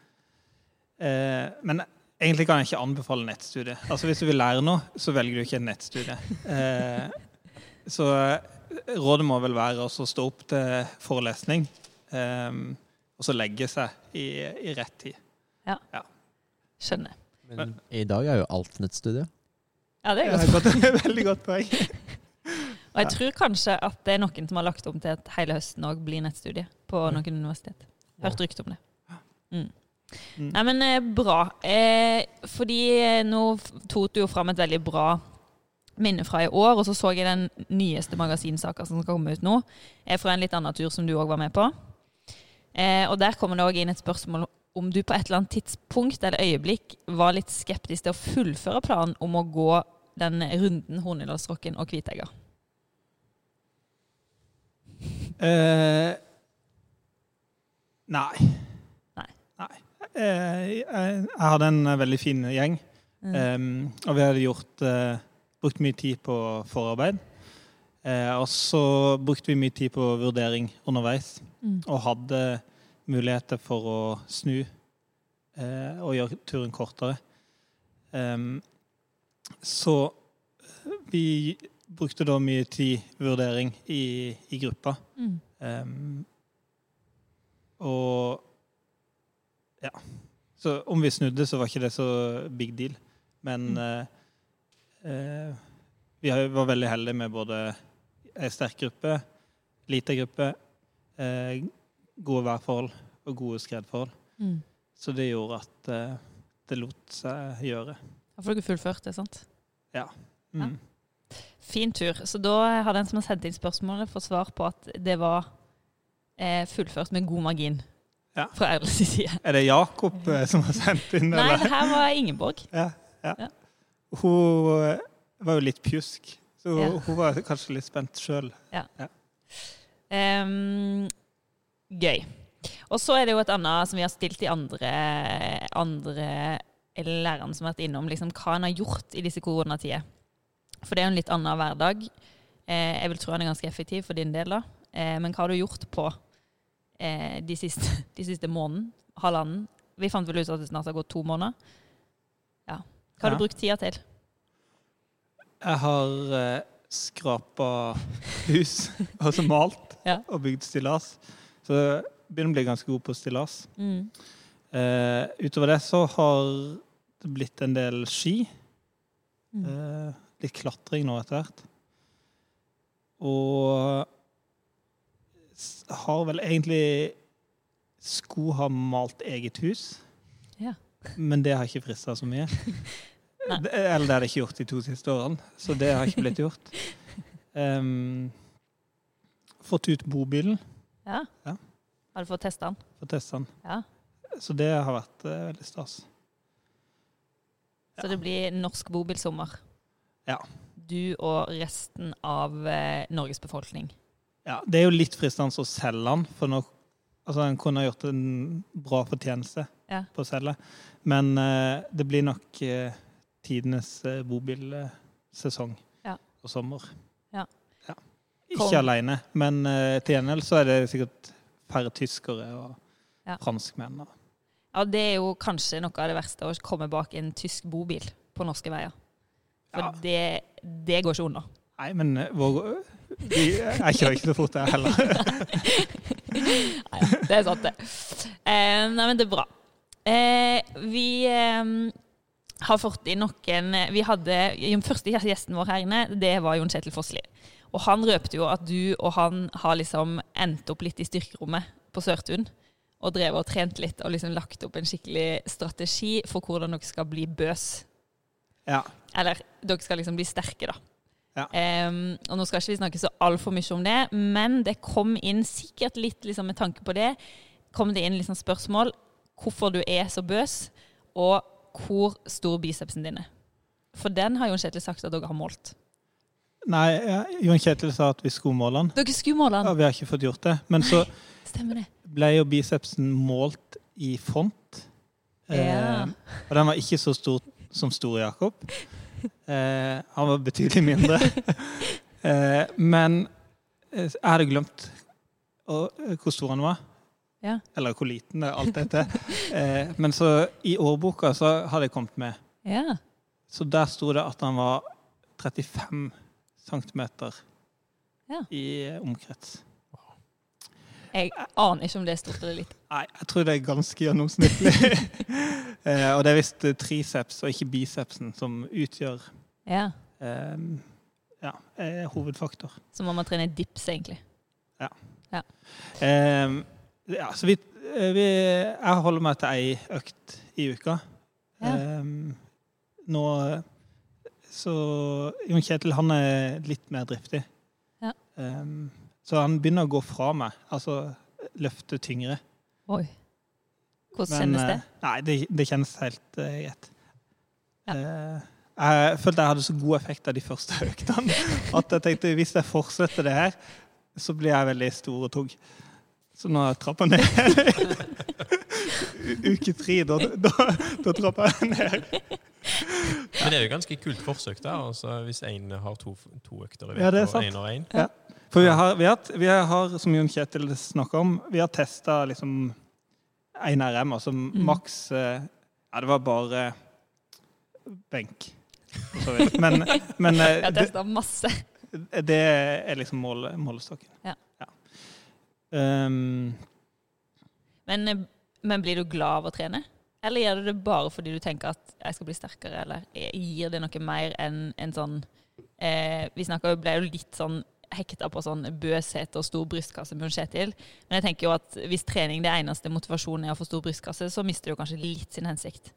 A: eh, men egentlig kan jeg ikke anbefale nettstudie. Altså Hvis du vil lære noe, så velger du ikke en nettstudie. Eh, så rådet må vel være å stå opp til forelesning, eh, og så legge seg i, i rett tid.
D: Skjønner.
C: Men i dag er jo alt nettstudio.
D: Ja, det
A: Det
D: er
A: er
D: godt.
A: et godt- veldig godt poeng.
D: Og jeg tror kanskje at det er noen som har lagt om til at hele høsten òg blir nettstudie på
A: Mm.
D: noen universitet. Hørt rykte om det. Mm.
A: Mm.
D: Nei, men eh, bra. Eh, fordi eh, nå f- tok du jo fram et veldig bra minne fra i år, og så så jeg den nyeste magasinsaka som skal komme ut nå, er fra en litt annen tur som du òg var med på. Eh, og der kommer det òg inn et spørsmål om du på et eller annet tidspunkt eller øyeblikk var litt skeptisk til å fullføre planen om å gå den runden Hornindalsrocken og Kviteegger.
A: Eh, nei.
D: Nei.
A: Eh, jeg, jeg hadde en veldig fin gjeng,
D: Mm.
A: em, og vi hadde gjort, eh, brukt mye tid på forarbeid. Eh, og så brukte vi mye tid på vurdering underveis,
D: Mm.
A: og hadde muligheter for å snu eh, og gjøre turen kortere. Em, så eh, vi brukte da mye tid vurdering i, i gruppa.
D: Mm.
A: Ehm, og ja. Så om vi snudde, så var ikke det så big deal. Men eh, eh, vi har- var veldig heldige med både ei sterk gruppe, lita gruppe, eh, gode værforhold og gode skredforhold.
D: Mm.
A: Så det gjorde at eh, det lot seg gjøre.
D: Da får dere fullført det, sant?
A: Mm.
D: Fin tur. Så da har den som har sendt inn spørsmålet, fått svar på at det var eh, fullført med god margin
A: Ja.
D: fra Erlends side.
A: Er det Jakob eh, som har sendt inn,
D: Nei,
A: eller?
D: det her var Ingeborg.
A: Ja, ja.
D: Ja.
A: Hun eh, var jo litt pjusk, så hun,
D: Ja.
A: hun var kanskje litt spent sjøl.
D: Ehm, gøy. Og så er det jo et annet som vi har stilt de andre, andre lærerne som har vært innom, liksom, hva en har gjort i disse koronatider. For det er jo en litt annen hverdag. Eh, jeg vil tro han er ganske effektiv for din del, da. Eh, men hva har du gjort på eh, de, siste, de siste måneden? Halvannen? Vi fant vel ut at det snart har gått to måneder. Ja. Hva
A: Ja.
D: har du brukt tida til?
A: Jeg har eh, skrapa hus, altså malt,
D: Ja.
A: og bygd stillas. Så jeg begynner å bli ganske god på stillas.
D: Mm.
A: Eh, utover det så har det blitt en del ski.
D: Mm.
A: Eh, litt klatring nå etter hvert. Og s- har vel egentlig Skulle ha malt eget hus,
D: Ja.
A: men det har ikke frista så mye.
D: Nei.
A: Det- Eller det har det ikke gjort de to siste årene, så det har ikke blitt gjort. Em, fått ut bobilen,
D: Ja.
A: Ja.
D: Har du fått testa den?
A: fått testa den.
D: Ja.
A: Så det har vært eh, veldig stas.
D: Så det blir norsk bobilsommer.
A: Ja.
D: Du og resten av eh, Norges befolkning.
A: Ja, det er jo litt fristende å selge den, for nå, altså, den kunne ha gjort en bra fortjeneste
D: Ja.
A: på å selge. Men eh, det blir nok eh, tidenes eh, bobilsesong
D: Ja.
A: og sommer.
D: Ja.
A: Ikke
D: Kom.
A: alene, men eh, til gjengjeld så er det sikkert færre tyskere og
D: Ja.
A: franskmenn. og-
D: Ja, det er jo kanskje noe av det verste, å komme bak en tysk bobil på norske veier. For
A: Ja.
D: det, det går ikke unna.
A: Nei, men eh, vår, vi, jeg kjører ikke så fort, jeg heller.
D: Nei, ja, det er sant, det. Eh, nei, men det er bra. Eh, vi eh, har fått inn noen Vi hadde Den første gjesten vår her inne, det var Jon Kjetil Fossli. Og han røpte jo at du og han har liksom endt opp litt i styrkerommet på Sørtun. Og drevet og trent litt og liksom lagt opp en skikkelig strategi for hvordan dere skal bli bøs.
A: Ja.
D: Eller dere skal liksom bli sterke, da.
A: Ja.
D: Ehm, og nå skal ikke vi snakke så altfor mye om det, men det kom inn sikkert litt liksom, med tanke på det, kom det inn liksom, spørsmål hvorfor du er så bøs, og hvor stor bicepsen din er. For den har Jon Kjetil sagt at dere har målt.
A: Nei, eh, Jon Kjetil sa at vi skulle måle den.
D: Dere skulle måle
A: Ja,
D: den.
A: vi har ikke fått gjort det. Men så
D: Stemmer det.
A: ble jo bicepsen målt i font.
D: Ja.
A: og den var ikke så stor Eh, som Store Jakob. Eh, han var betydelig mindre. eh, men eh, jeg hadde glemt å, eh, hvor stor han var.
D: Ja.
A: Eller hvor liten, det er alt dette. Eh, men så i årboka så hadde jeg kommet med.
D: Ja.
A: Så der sto det at han var 35 cm
D: Ja.
A: i eh, omkrets.
D: Jeg aner ikke om det er stort eller lite.
A: Nei, jeg tror det er ganske gjennomsnittlig. eh, og det er visst eh, triceps og ikke bicepsen som utgjør
D: Ja.
A: eh, ja, eh, hovedfaktor.
D: Så må man trene dips, egentlig.
A: Eh, ja, så vi, eh, vi Jeg holder meg til ei økt i uka.
D: Ja.
A: Eh, nå eh, Så Jon Kjetil, han er litt mer driftig.
D: Ja.
A: Eh, så han begynner å gå fra meg. Altså løfte tyngre.
D: Oi. Hvordan
A: Men,
D: kjennes det?
A: eh, Nei, det, det kjennes helt eh, greit.
D: Ja.
A: Eh, jeg følte jeg hadde så god effekt av de første øktene at jeg tenkte hvis jeg fortsetter det her, så blir jeg veldig stor og tung. Så nå trapper jeg ned. eh, U- Uke tre, da, da, da trapper jeg ned.
B: Men det er jo ganske kult forsøk, da. Altså, hvis én har to, to økter i
A: Ja, det er
B: uka, og
A: sant.
B: én og én.
A: For vi har, vi har, vi har som Jon Kjetil snakka om, vi har testa liksom en RM, altså
D: Mm.
A: maks eh, Ja, det var bare benk. for så vidt. Men, men eh,
D: Jeg har testa masse.
A: det, det er liksom mål, målestokken.
D: Ja.
A: Ehm,
D: Men, eh, men blir du glad av å trene? Eller gjør du det bare fordi du tenker at jeg skal bli sterkere, eller eh, gir det noe mer enn en sånn eh, Vi snakket jo, ble jo litt sånn hekta på sånn bøshet og stor brystkasse med Kjetil. Men jeg tenker jo at hvis trening det eneste motivasjonen er å få stor brystkasse, så mister du kanskje litt sin hensikt.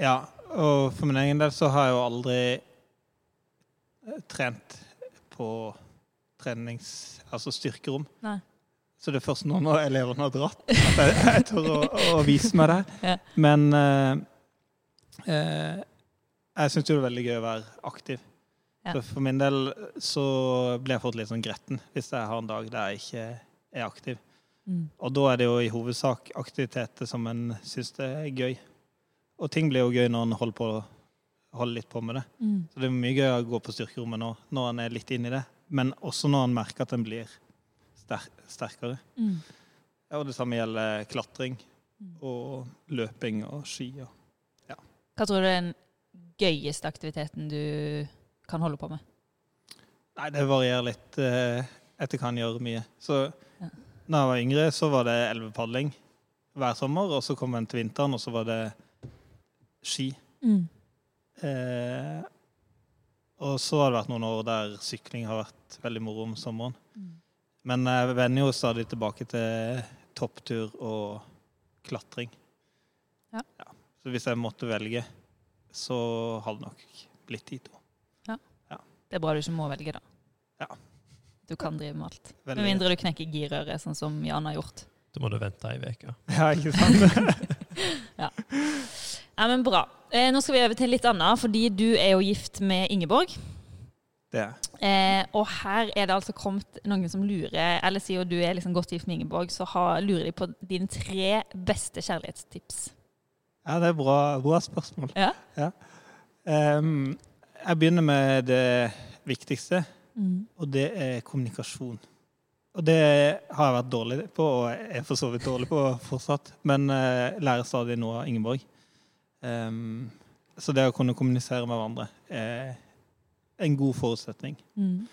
A: ja, og for min egen del så har jeg jo aldri eh, trent på trenings... Altså styrkerom.
D: Nei.
A: Så det er først nå når elevene har dratt, at jeg, jeg tør å, å vise meg der.
D: Ja.
A: Men eh, eh, jeg syns jo det er veldig gøy å være aktiv.
D: Ja.
A: Så for min del så blir jeg fort litt sånn gretten hvis jeg har en dag der jeg ikke er aktiv.
D: Mm.
A: Og da er det jo i hovedsak aktiviteter som en syns det er gøy. Og ting blir jo gøy når en holder, på, holder litt på med det.
D: Mm.
A: Så det er mye gøy å gå på styrkerommet nå, når en er litt inni det. Men også når en merker at en blir ster sterkere.
D: Mm.
A: Ja, og det samme gjelder klatring og løping og ski. Og.
D: Hva tror du er den gøyeste aktiviteten du kan holde på med?
A: Nei, det varierer litt eh, etter hva en gjør mye. Så
D: Ja.
A: da jeg var yngre, så var det elvepadling hver sommer. Og så kom en til vinteren, og så var det ski.
D: Mm.
A: Eh, og så har det vært noen år der sykling har vært veldig moro om sommeren.
D: Mm.
A: Men jeg vender jo stadig tilbake til topptur og klatring.
D: Ja.
A: Så hvis jeg måtte velge, så hadde det nok blitt de to.
D: Det er bra du ikke må velge, da.
A: Ja.
D: Du kan drive med alt.
A: Veldig.
D: Med mindre du knekker girøret, sånn som Jan har gjort.
B: Da må du vente ei uke.
A: Ja, ikke sant?
D: Ja, men bra. Eh, nå skal vi over til litt annet, fordi du er jo gift med Ingeborg.
A: det er jeg.
D: Eh, og her er det altså kommet noen som lurer, eller siden du er liksom godt gift med Ingeborg, så har, lurer de på dine tre beste kjærlighetstips.
A: Ja, det er bra, bra spørsmål.
D: Ja?
A: Ehm, jeg begynner med det viktigste,
D: Mm.
A: og det er kommunikasjon. Og det har jeg vært dårlig på, og er for så vidt dårlig på fortsatt, men eh, lærer stadig noe av Ingeborg. Ehm, så det å kunne kommunisere med hverandre er en god forutsetning.
D: Mm.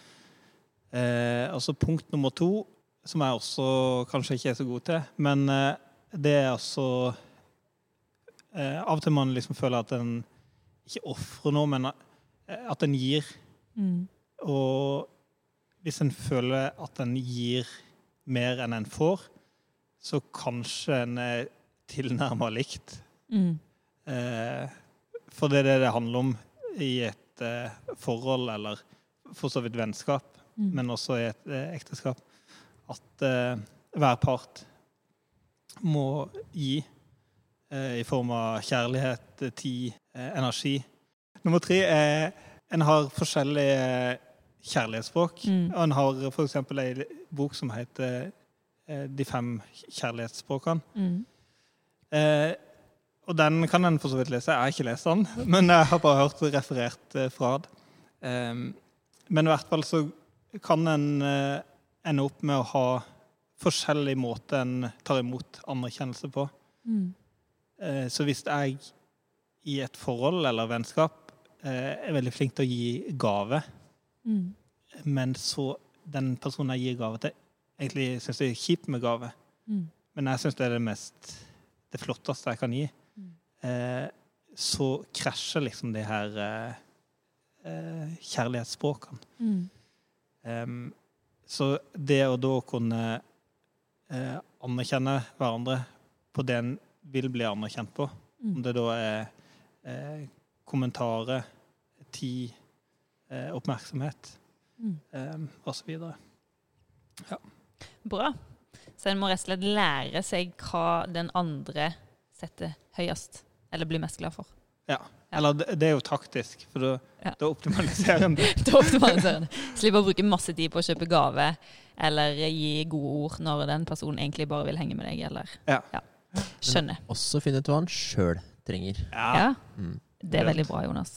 A: Eh, altså punkt nummer to, som jeg også kanskje ikke er så god til, men eh, det er altså eh, Av og til man liksom føler at en ikke ofrer noe, men eh, at en gir.
D: Mm.
A: Og hvis en føler at en gir mer enn en får, så kanskje en er tilnærma likt.
D: Mm.
A: Eh, for det er det det handler om i et eh, forhold, eller for så vidt vennskap,
D: Mm.
A: men også i et eh, ekteskap, at eh, hver part må gi eh, i form av kjærlighet, eh, tid, eh, energi. Nummer tre er en har forskjellige kjærlighetsspråk.
D: Mm.
A: Og en har f.eks. ei bok som heter eh, De fem kjærlighetsspråkene.
D: Mm.
A: Eh, og den kan en for så vidt lese. Jeg har ikke lest den, men jeg har bare hørt det referert eh, fra det. Eh, men i hvert fall så kan en eh, ende opp med å ha forskjellig måte en tar imot anerkjennelse på.
D: Mm.
A: Eh, så hvis jeg i et forhold eller vennskap eh, er veldig flink til å gi gave,
D: Mm.
A: men så den personen jeg gir gave til, egentlig syns det er kjipt med gave,
D: Mm.
A: men jeg syns det er det mest det flotteste jeg kan gi,
D: Mm.
A: eh, så krasjer liksom de her eh, eh, kjærlighetsspråkene.
D: Mm.
A: Em, så det å da kunne eh, anerkjenne hverandre på det en vil bli anerkjent på, om
D: Mm.
A: det da er eh, kommentarer, tid, eh, oppmerksomhet
D: Mm.
A: eh, osv.
D: Bra. Så en må rett og slett lære seg hva den andre setter høyest, eller blir mest glad for.
A: Ja. Eller det, det er jo taktisk, for da,
D: Ja.
A: da optimaliserer en det.
D: Da optimaliserer en. Slipper sånn, å bruke masse tid på å kjøpe gave eller gi gode ord når den personen egentlig bare vil henge med deg, eller
A: Ja.
D: Skjønner.
C: Også finne ut hva han sjøl trenger.
A: Ja.
D: Ja,
C: Mm,
D: det er veldig bra, Jonas.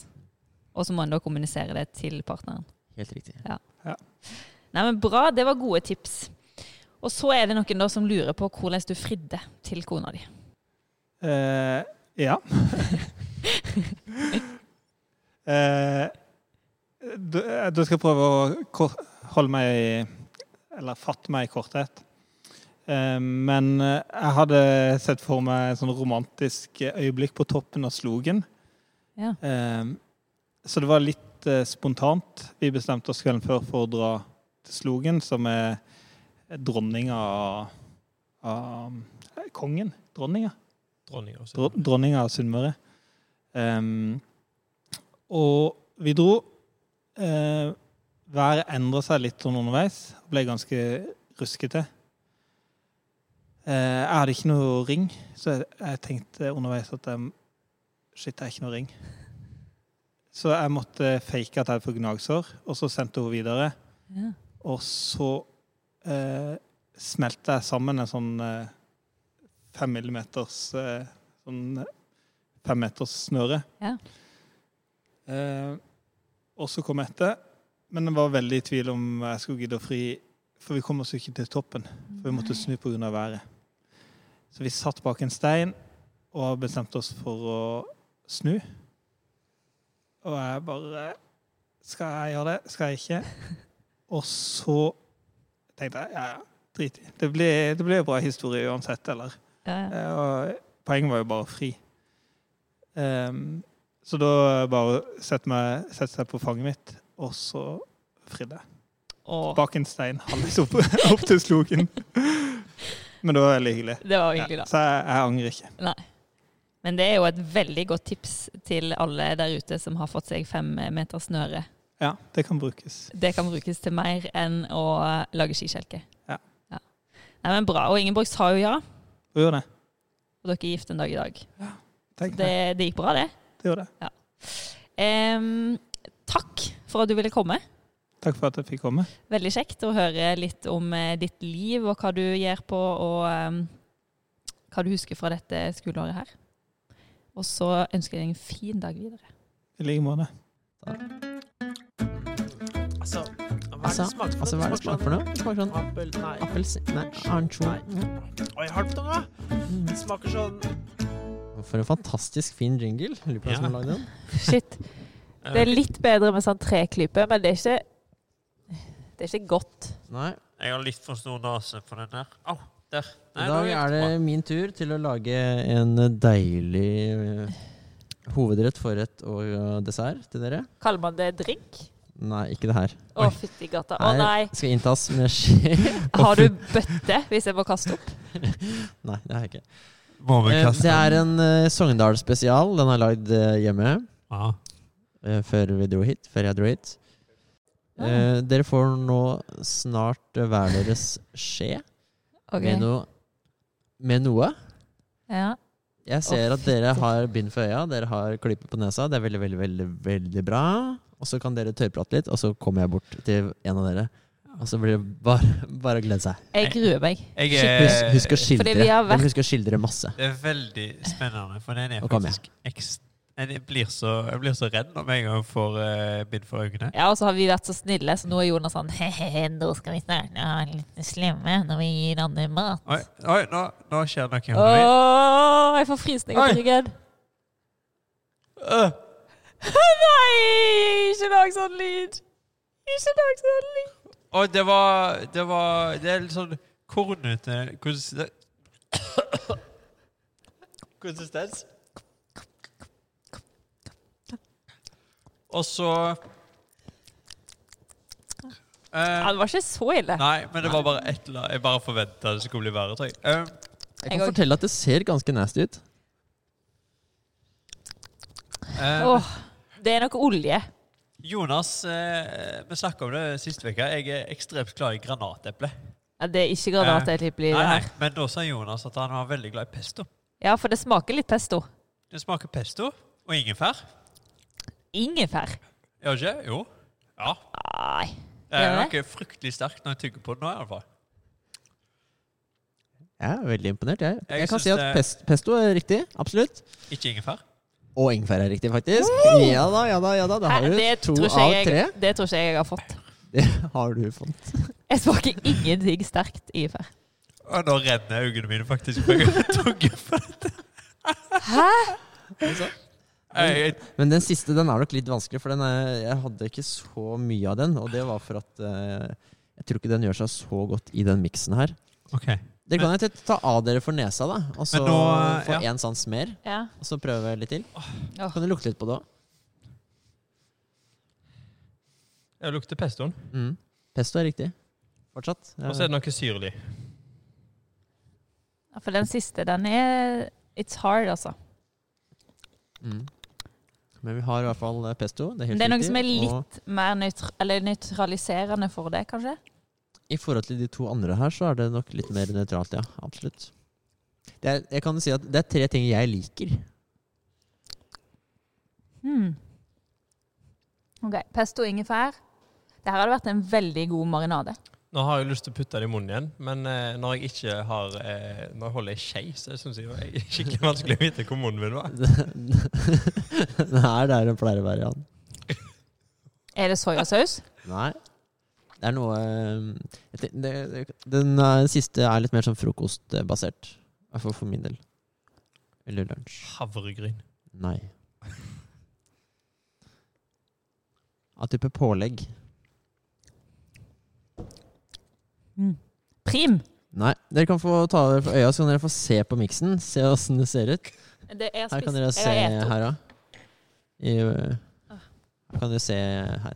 D: Og så må en da kommunisere det til partneren.
C: helt riktig.
D: Nei, men bra. Det var gode tips. Og så er det noen da som lurer på hvordan du fridde til kona di.
A: Eh, ja. eh, da, da skal jeg prøve å kor- holde meg i Eller fatte meg i korthet. Eh, men eh, jeg hadde sett for meg et sånn romantisk øyeblikk på toppen av Slogen.
D: Ja.
A: Eh, så det var litt eh, spontant. Vi bestemte oss kvelden før for å dra til Slogen, som er dronninga av, av eh, Kongen? Dronninga?
B: Dronninga også.
A: Dro- dronninga av Sunnmøre. Ehm, og vi dro. Uh, været endra seg litt sånn underveis. Ble ganske ruskete. Eh, jeg hadde ikke noe ring, så jeg, jeg tenkte underveis at jeg, shit, jeg har ikke noe ring. Så jeg måtte fake at jeg hadde fått gnagsår, og så sendte hun videre.
D: Ja.
A: Og så eh, smelta jeg sammen en sånn eh, fem millimeters eh, sånn femmeters snøre.
D: Ja.
A: Eh, og så kom jeg etter, men jeg var veldig i tvil om jeg skulle gidde å fri, for vi kom oss jo ikke til toppen. For vi måtte snu pga. været. Så vi satt bak en stein og bestemte oss for å snu. Og jeg bare Skal jeg gjøre det? Skal jeg ikke? Og så tenkte jeg ja, ja, drit i. Det blir, det blir en bra historie uansett, eller?
D: Ja, ja.
A: Eh, Og poenget var jo bare å fri. Ehm, så da bare sette meg- sette seg på fanget mitt, og så fridde jeg.
D: Og
A: Bak en stein halvveis opp, opp til sloken. Men det var veldig hyggelig.
D: det var jo
A: Ja,
D: hyggelig, da.
A: så jeg, jeg angrer ikke.
D: Men det er jo et veldig godt tips til alle der ute som har fått seg fem meter snøre.
A: Ja, det kan brukes.
D: Det kan brukes til mer enn å lage skikjelke.
A: Ja.
D: Nei, men bra. Og Ingeborg sa jo ja,
A: Hun gjorde det.
D: og dere er gift en dag i dag.
A: Tenk
D: Det,
A: det.
D: det gikk bra, det.
A: Det gjorde det.
D: Em, takk for at du ville komme.
A: Takk for at jeg fikk komme.
D: Veldig kjekt å høre litt om eh, ditt liv og hva du gjør på, og em, hva du husker fra dette skoleåret her. Og så ønsker jeg deg en fin dag videre.
A: I like måte.
E: Altså, hva er
C: Altså,
E: det smaker
C: altså, hva er det smak for noe? Det smaker sånn
E: Appel, nei.
C: appelsin Nei, ansjon.
E: Oi, jeg har det på tunga! Det smaker sånn
C: For en fantastisk fin jingle. Lurer på hvem som har lagd den.
D: Shit. Det er litt bedre med sånn treklype, men det er ikke, det er ikke godt.
C: Nei.
E: Jeg har litt for stor nese på den der. Au, der.
C: I dag er det min tur til å lage en deilig eh, hovedrett, forrett og eh, dessert til dere.
D: Kaller man det drink?
C: Nei, ikke det her.
D: Å, fytti gata. Å
C: Her
D: nei.
C: skal inntas med skje. og
D: Har
C: frukt.
D: du bøtte, hvis jeg må kaste opp?
C: Nei, det har jeg ikke.
E: Må vi
C: Eh,
E: kaste
C: Det er en eh, Sogndal-spesial. Den har jeg lagd eh, hjemme
E: Ja.
C: eh, før vi dro hit. Før jeg dro hit.
D: Ja.
C: Eh, Dere får nå snart eh, hver deres skje
D: Ok.
C: med, noe- med noe.
D: Ja.
C: Jeg ser at dere har bind for øya, dere har klype på nesa. Det er veldig, veldig, veldig veldig bra. Og så kan dere tørrprate litt, og så kommer jeg bort til en av dere.
D: Ah.
C: Og så blir det bare, bare å glede seg.
D: Jeg gruer meg.
E: Jeg
C: Husk,
E: er,
C: husk å skildre.
D: Fordi vi har vært-
C: Men Husk å skildre masse.
E: det er veldig spennende, for den er
C: Og kom igjen.
E: faktisk ekst... den- Jeg blir, så, jeg blir så redd om en gang jeg får eh, bind for øynene.
D: Ja, og så har vi vært så snille, så nå er Jonas sånn he-he, nå skal vi snart være litt slemme når vi gir andre mat.
E: Oi, oi nå, nå skjer det noe i
D: Åh,
E: hodet mitt.
D: jeg får frysninger på
E: Oi.
D: ryggen.
E: Øh,
D: Nei, ikke lag sånn lyd. Ikke lag sånn lyd.
E: Og det var Det, var, det er litt sånn kornete konsistens. konsistens. Og så
D: Ja,
E: eh,
D: det var ikke så ille.
E: Nei, men det var bare et eller annet. Jeg bare forventa det skulle bli verre, tror jeg. Eh,
C: Jeg
D: Jeg
C: kan
D: òg.
C: fortelle at det ser ganske nasty ut.
E: eh,
D: Åh, det er noe olje.
E: Jonas, eh, vi snakka om det sist uke. Jeg er ekstremt glad i granateple.
D: Ja, det er ikke granateplipli.
E: Nei, nei, men da sa Jonas at han var veldig glad i pesto.
D: Ja, for det smaker litt pesto.
E: Det smaker pesto og ingefær.
D: Ingefær.
E: Gjør det ikke? Jo. Ja.
D: Nei.
E: Det er
D: Gjør det?
E: noe fryktelig sterkt når jeg tygger på det nå, i alle fall.
C: Jeg er veldig imponert. Jeg,
E: Jeg
C: jeg, kan
E: synes
C: si at
E: det-
C: pest, pesto er riktig. Absolutt.
E: Ikke ingefær.
C: Og ingefær er riktig, faktisk. Ja da, ja da. ja da Da har
D: Hæ,
C: du
D: det
C: to
D: tror ikke
C: av
D: jeg-
C: tre.
D: Det tror ikke jeg jeg har fått.
C: Det har du fått.
D: Jeg smaker ingenting sterkt ingefær.
E: Og nå renner øynene mine faktisk for jeg har tugget på dette.
D: Hæ?
E: Jeg, jeg,
C: Men den siste den er nok litt vanskelig, for den er, jeg hadde ikke så mye av den. Og det var for at eh, jeg tror ikke den gjør seg så godt i den miksen her.
E: ok.
C: Dere kan jo ta av dere for nesa, da. Og så
E: Men nå, eh,
C: få
E: ja.
C: én sans mer.
D: Ja.
C: Og så prøve litt til.
D: Åh.
C: Kan du lukte litt på det òg?
B: Jeg lukter pestoen,
C: Mm. Pesto er riktig. Fortsatt.
B: og så er det noe syrlig.
D: Ja, For den siste, den er It's hard, altså.
C: Mm. Men vi har i hvert fall eh, pesto. Det er helt
D: Men det er noe
C: riktig,
D: som er
C: og-
D: litt mer nøytr eller nøytraliserende for det, kanskje?
C: I forhold til de to andre her, så er det nok litt mer nøytralt, ja. Absolutt. Det er, jeg kan jo si at det er tre ting jeg liker.
D: Hmm. OK. Pesto og ingefær. Det her hadde vært en veldig god marinade.
B: Nå har jeg lyst til å putte det i munnen igjen, men eh, når jeg ikke har eh, Når jeg holder ei skje, så syns jeg det er skikkelig vanskelig å vite hvor munnen min var.
C: Det er der det pleier å være, Jan.
D: Er det soyasaus?
C: Nei. Det er noe eh, jeg tenk- det, det, Den eh, siste er litt mer sånn frokostbasert. I hvert fall for min del. Eller lunsj.
B: Havregryn.
C: Nei. Av type pålegg.
D: Prim.
C: Nei. Dere kan få ta dere for øya, så kan dere få se på miksen. Se åssen det ser ut.
D: Det er
C: Her kan dere se her, da. I,
D: Ah.
C: øh, her kan dere se her.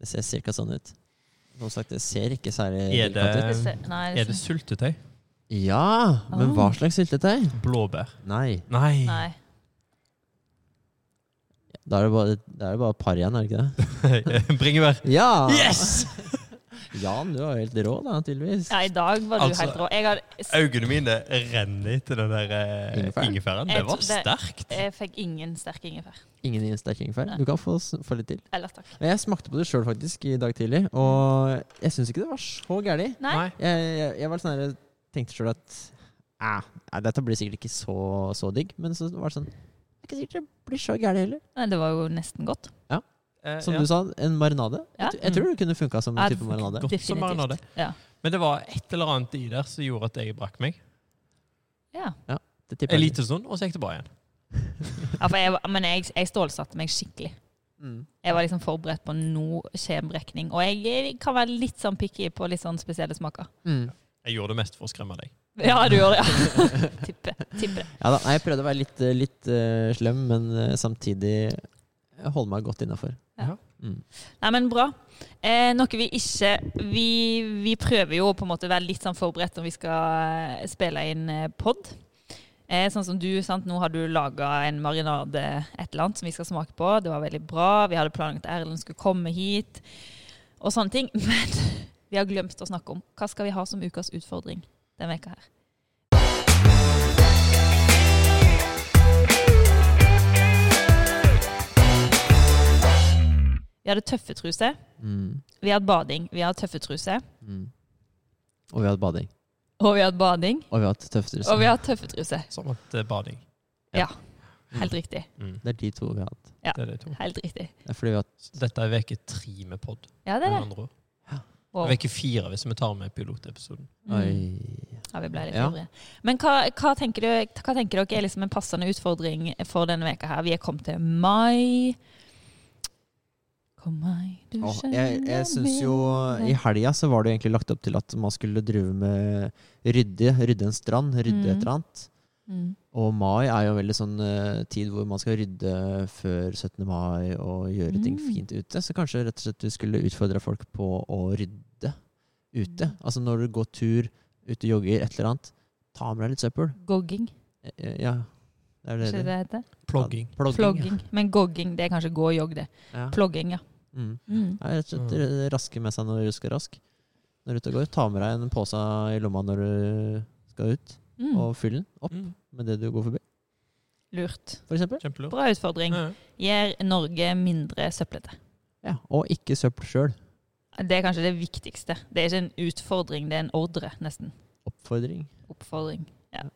C: Det ser cirka sånn ut. Som sagt, det ser ikke særlig
B: Er det-
C: delikat ut.
D: Nei,
B: Er det syltetøy?
C: Ja! Men
D: Ah.
C: hva slags syltetøy?
B: Blåbær?
C: Nei.
B: Nei.
D: Nei.
C: Da er det bare, da er det bare par igjen, er det ikke det?
B: Bringebær.
C: Ja!
B: Yes!
C: Jan, du var helt rå, da, tydeligvis.
D: Ja, I dag var du
B: Altså,
D: helt rå. Jeg, hadde,
B: Øynene mine renner etter den der eh,
C: Ingefær.
B: ingefæren.
D: Jeg
B: Det var
D: tror det-
B: sterkt.
D: jeg fikk ingen sterk ingefær.
C: Ingen sterking feil.
D: Nei.
C: Du kan få, s- få litt til.
D: Ellers takk.
C: Men Jeg smakte på det sjøl faktisk i dag tidlig, og jeg syns ikke det var så gæli.
D: Nei.
C: Jeg, jeg, jeg var sånn her, tenkte sjøl at "Ah, nei, dette blir sikkert ikke så, så digg, men så var det sånn Det er ikke sikkert det blir så gærent heller.
D: Nei, det var jo nesten godt.
B: Eh,
C: Som
B: ja.
C: du sa, en marinade.
D: Ja.
C: Jeg, tr- jeg tror det kunne funka som
D: Ja,
C: en
D: det
C: type
D: funker
C: marinade.
B: Godt som marinade.
D: Ja.
B: Men det var et eller annet i der som gjorde at jeg brakk meg.
D: ja.
C: Det tipper
B: En
C: jeg.
B: liten stund, og så gikk det bra igjen.
D: Ja, for jeg, var- men jeg, jeg stålsatte meg skikkelig.
C: Mm.
D: Jeg var liksom forberedt på noe skjebrekning. Og jeg kan være litt sånn picky på litt sånn spesielle smaker.
C: Mm.
B: Jeg gjorde det mest for å skremme deg.
D: Ja, du gjør det. Ja. Tipper. Tipper det.
C: Ja da, nei, jeg prøvde å være litt, eh, litt eh, slem, men eh, samtidig holde meg godt innafor.
D: Ja.
C: Mm.
D: Nei, men bra. Eh, noe vi ikke vi, vi prøver jo å på en måte være litt sånn forberedt når vi skal eh, spille inn pod. Eh, sånn som du, sant? Nå har du laga en marinade, et eller annet, som vi skal smake på. Det var veldig bra. Vi hadde planlagt at Erlend skulle komme hit, og sånne ting. Men vi har glemt å snakke om hva skal vi ha som ukas utfordring denne veka her. hadde tøffe truser.
C: Mm.
D: Vi hadde bading. Vi hadde tøffe truser.
C: Mm. Og vi har hatt bading.
D: Og vi hadde bading.
C: Og vi har hatt tøftere
D: Og vi hadde tøffe truser.
B: Som at eh, bading.
D: Helt riktig.
B: Mm.
C: Det er de to vi har hatt.
B: Det er de to.
D: Helt riktig.
C: Det er fordi vi har hatt
B: Så Dette er uke tre med pod.
D: Ja, det er det. Wow.
B: Uke fire hvis vi tar med pilotepisoden.
D: Mm.
C: Oi.
D: Ja, vi ble litt
C: Ja.
D: ivrige. Men hva, hva, tenker du, hva tenker dere er liksom en passende utfordring for denne veka her? Vi er kommet til mai. Kom mai, du
C: Åh,
D: skjønner
C: jeg jeg syns jo I helga så var det jo egentlig lagt opp til at man skulle drive med rydde. Rydde en strand, rydde et
D: Mm.
C: eller annet.
D: mm.
C: Og mai er jo veldig sånn eh, tid hvor man skal rydde før 17. mai og gjøre ting
D: Mm.
C: fint ute. Så kanskje rett og slett du skulle utfordre folk på å rydde ute.
D: Mm.
C: Altså når du går tur, ute jogger, et eller annet, ta med deg litt søppel.
D: Gogging,
C: Eh, Ja, det er
D: ikke
C: det
D: det
C: det
D: det heter?
B: Plogging.
C: Plogging.
D: Flogging. Men gogging, det er kanskje gå og jogg, det.
C: Ja.
D: Plogging, ja.
C: Mm.
D: Mm.
C: Nei, rett og slett raske med seg når du skal rask. Når du er ute og går, ta med deg en pose i lomma når du skal ut,
D: Mm.
C: og fyll den opp
B: Mm.
C: med det du går forbi,
D: Lurt.
C: for eksempel.
B: Kjempelurt.
D: Bra utfordring.
B: Ja, ja.
D: Gjør Norge mindre søplete.
C: Ja, og ikke søppel sjøl.
D: Det er kanskje det viktigste. Det er ikke en utfordring, det er en ordre, nesten.
C: Oppfordring.
D: Oppfordring. Ja.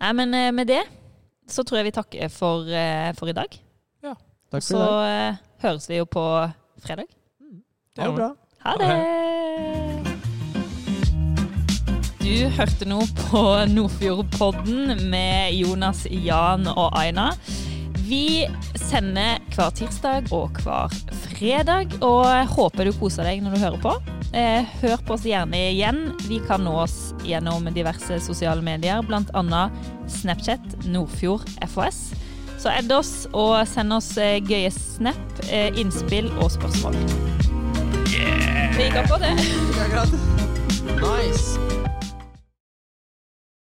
D: Nei, men eh, med det så tror jeg vi takker for, eh, for i dag.
C: Takk for
D: Så
C: i dag.
D: eh, høres vi jo på fredag.
B: Det er bra.
D: Ha
B: Ha
D: det! Du hørte nå på Nordfjordpodden med Jonas, Jan og Aina. Vi sender hver tirsdag og hver fredag, og håper du koser deg når du hører på. Eh, Hør på oss gjerne igjen. Vi kan nå oss gjennom diverse sosiale medier, bl.a. Snapchat Nordfjord FOS. Så add oss og send oss eh, gøye snap, eh, innspill og spørsmål. Vi går på det.
C: Nice!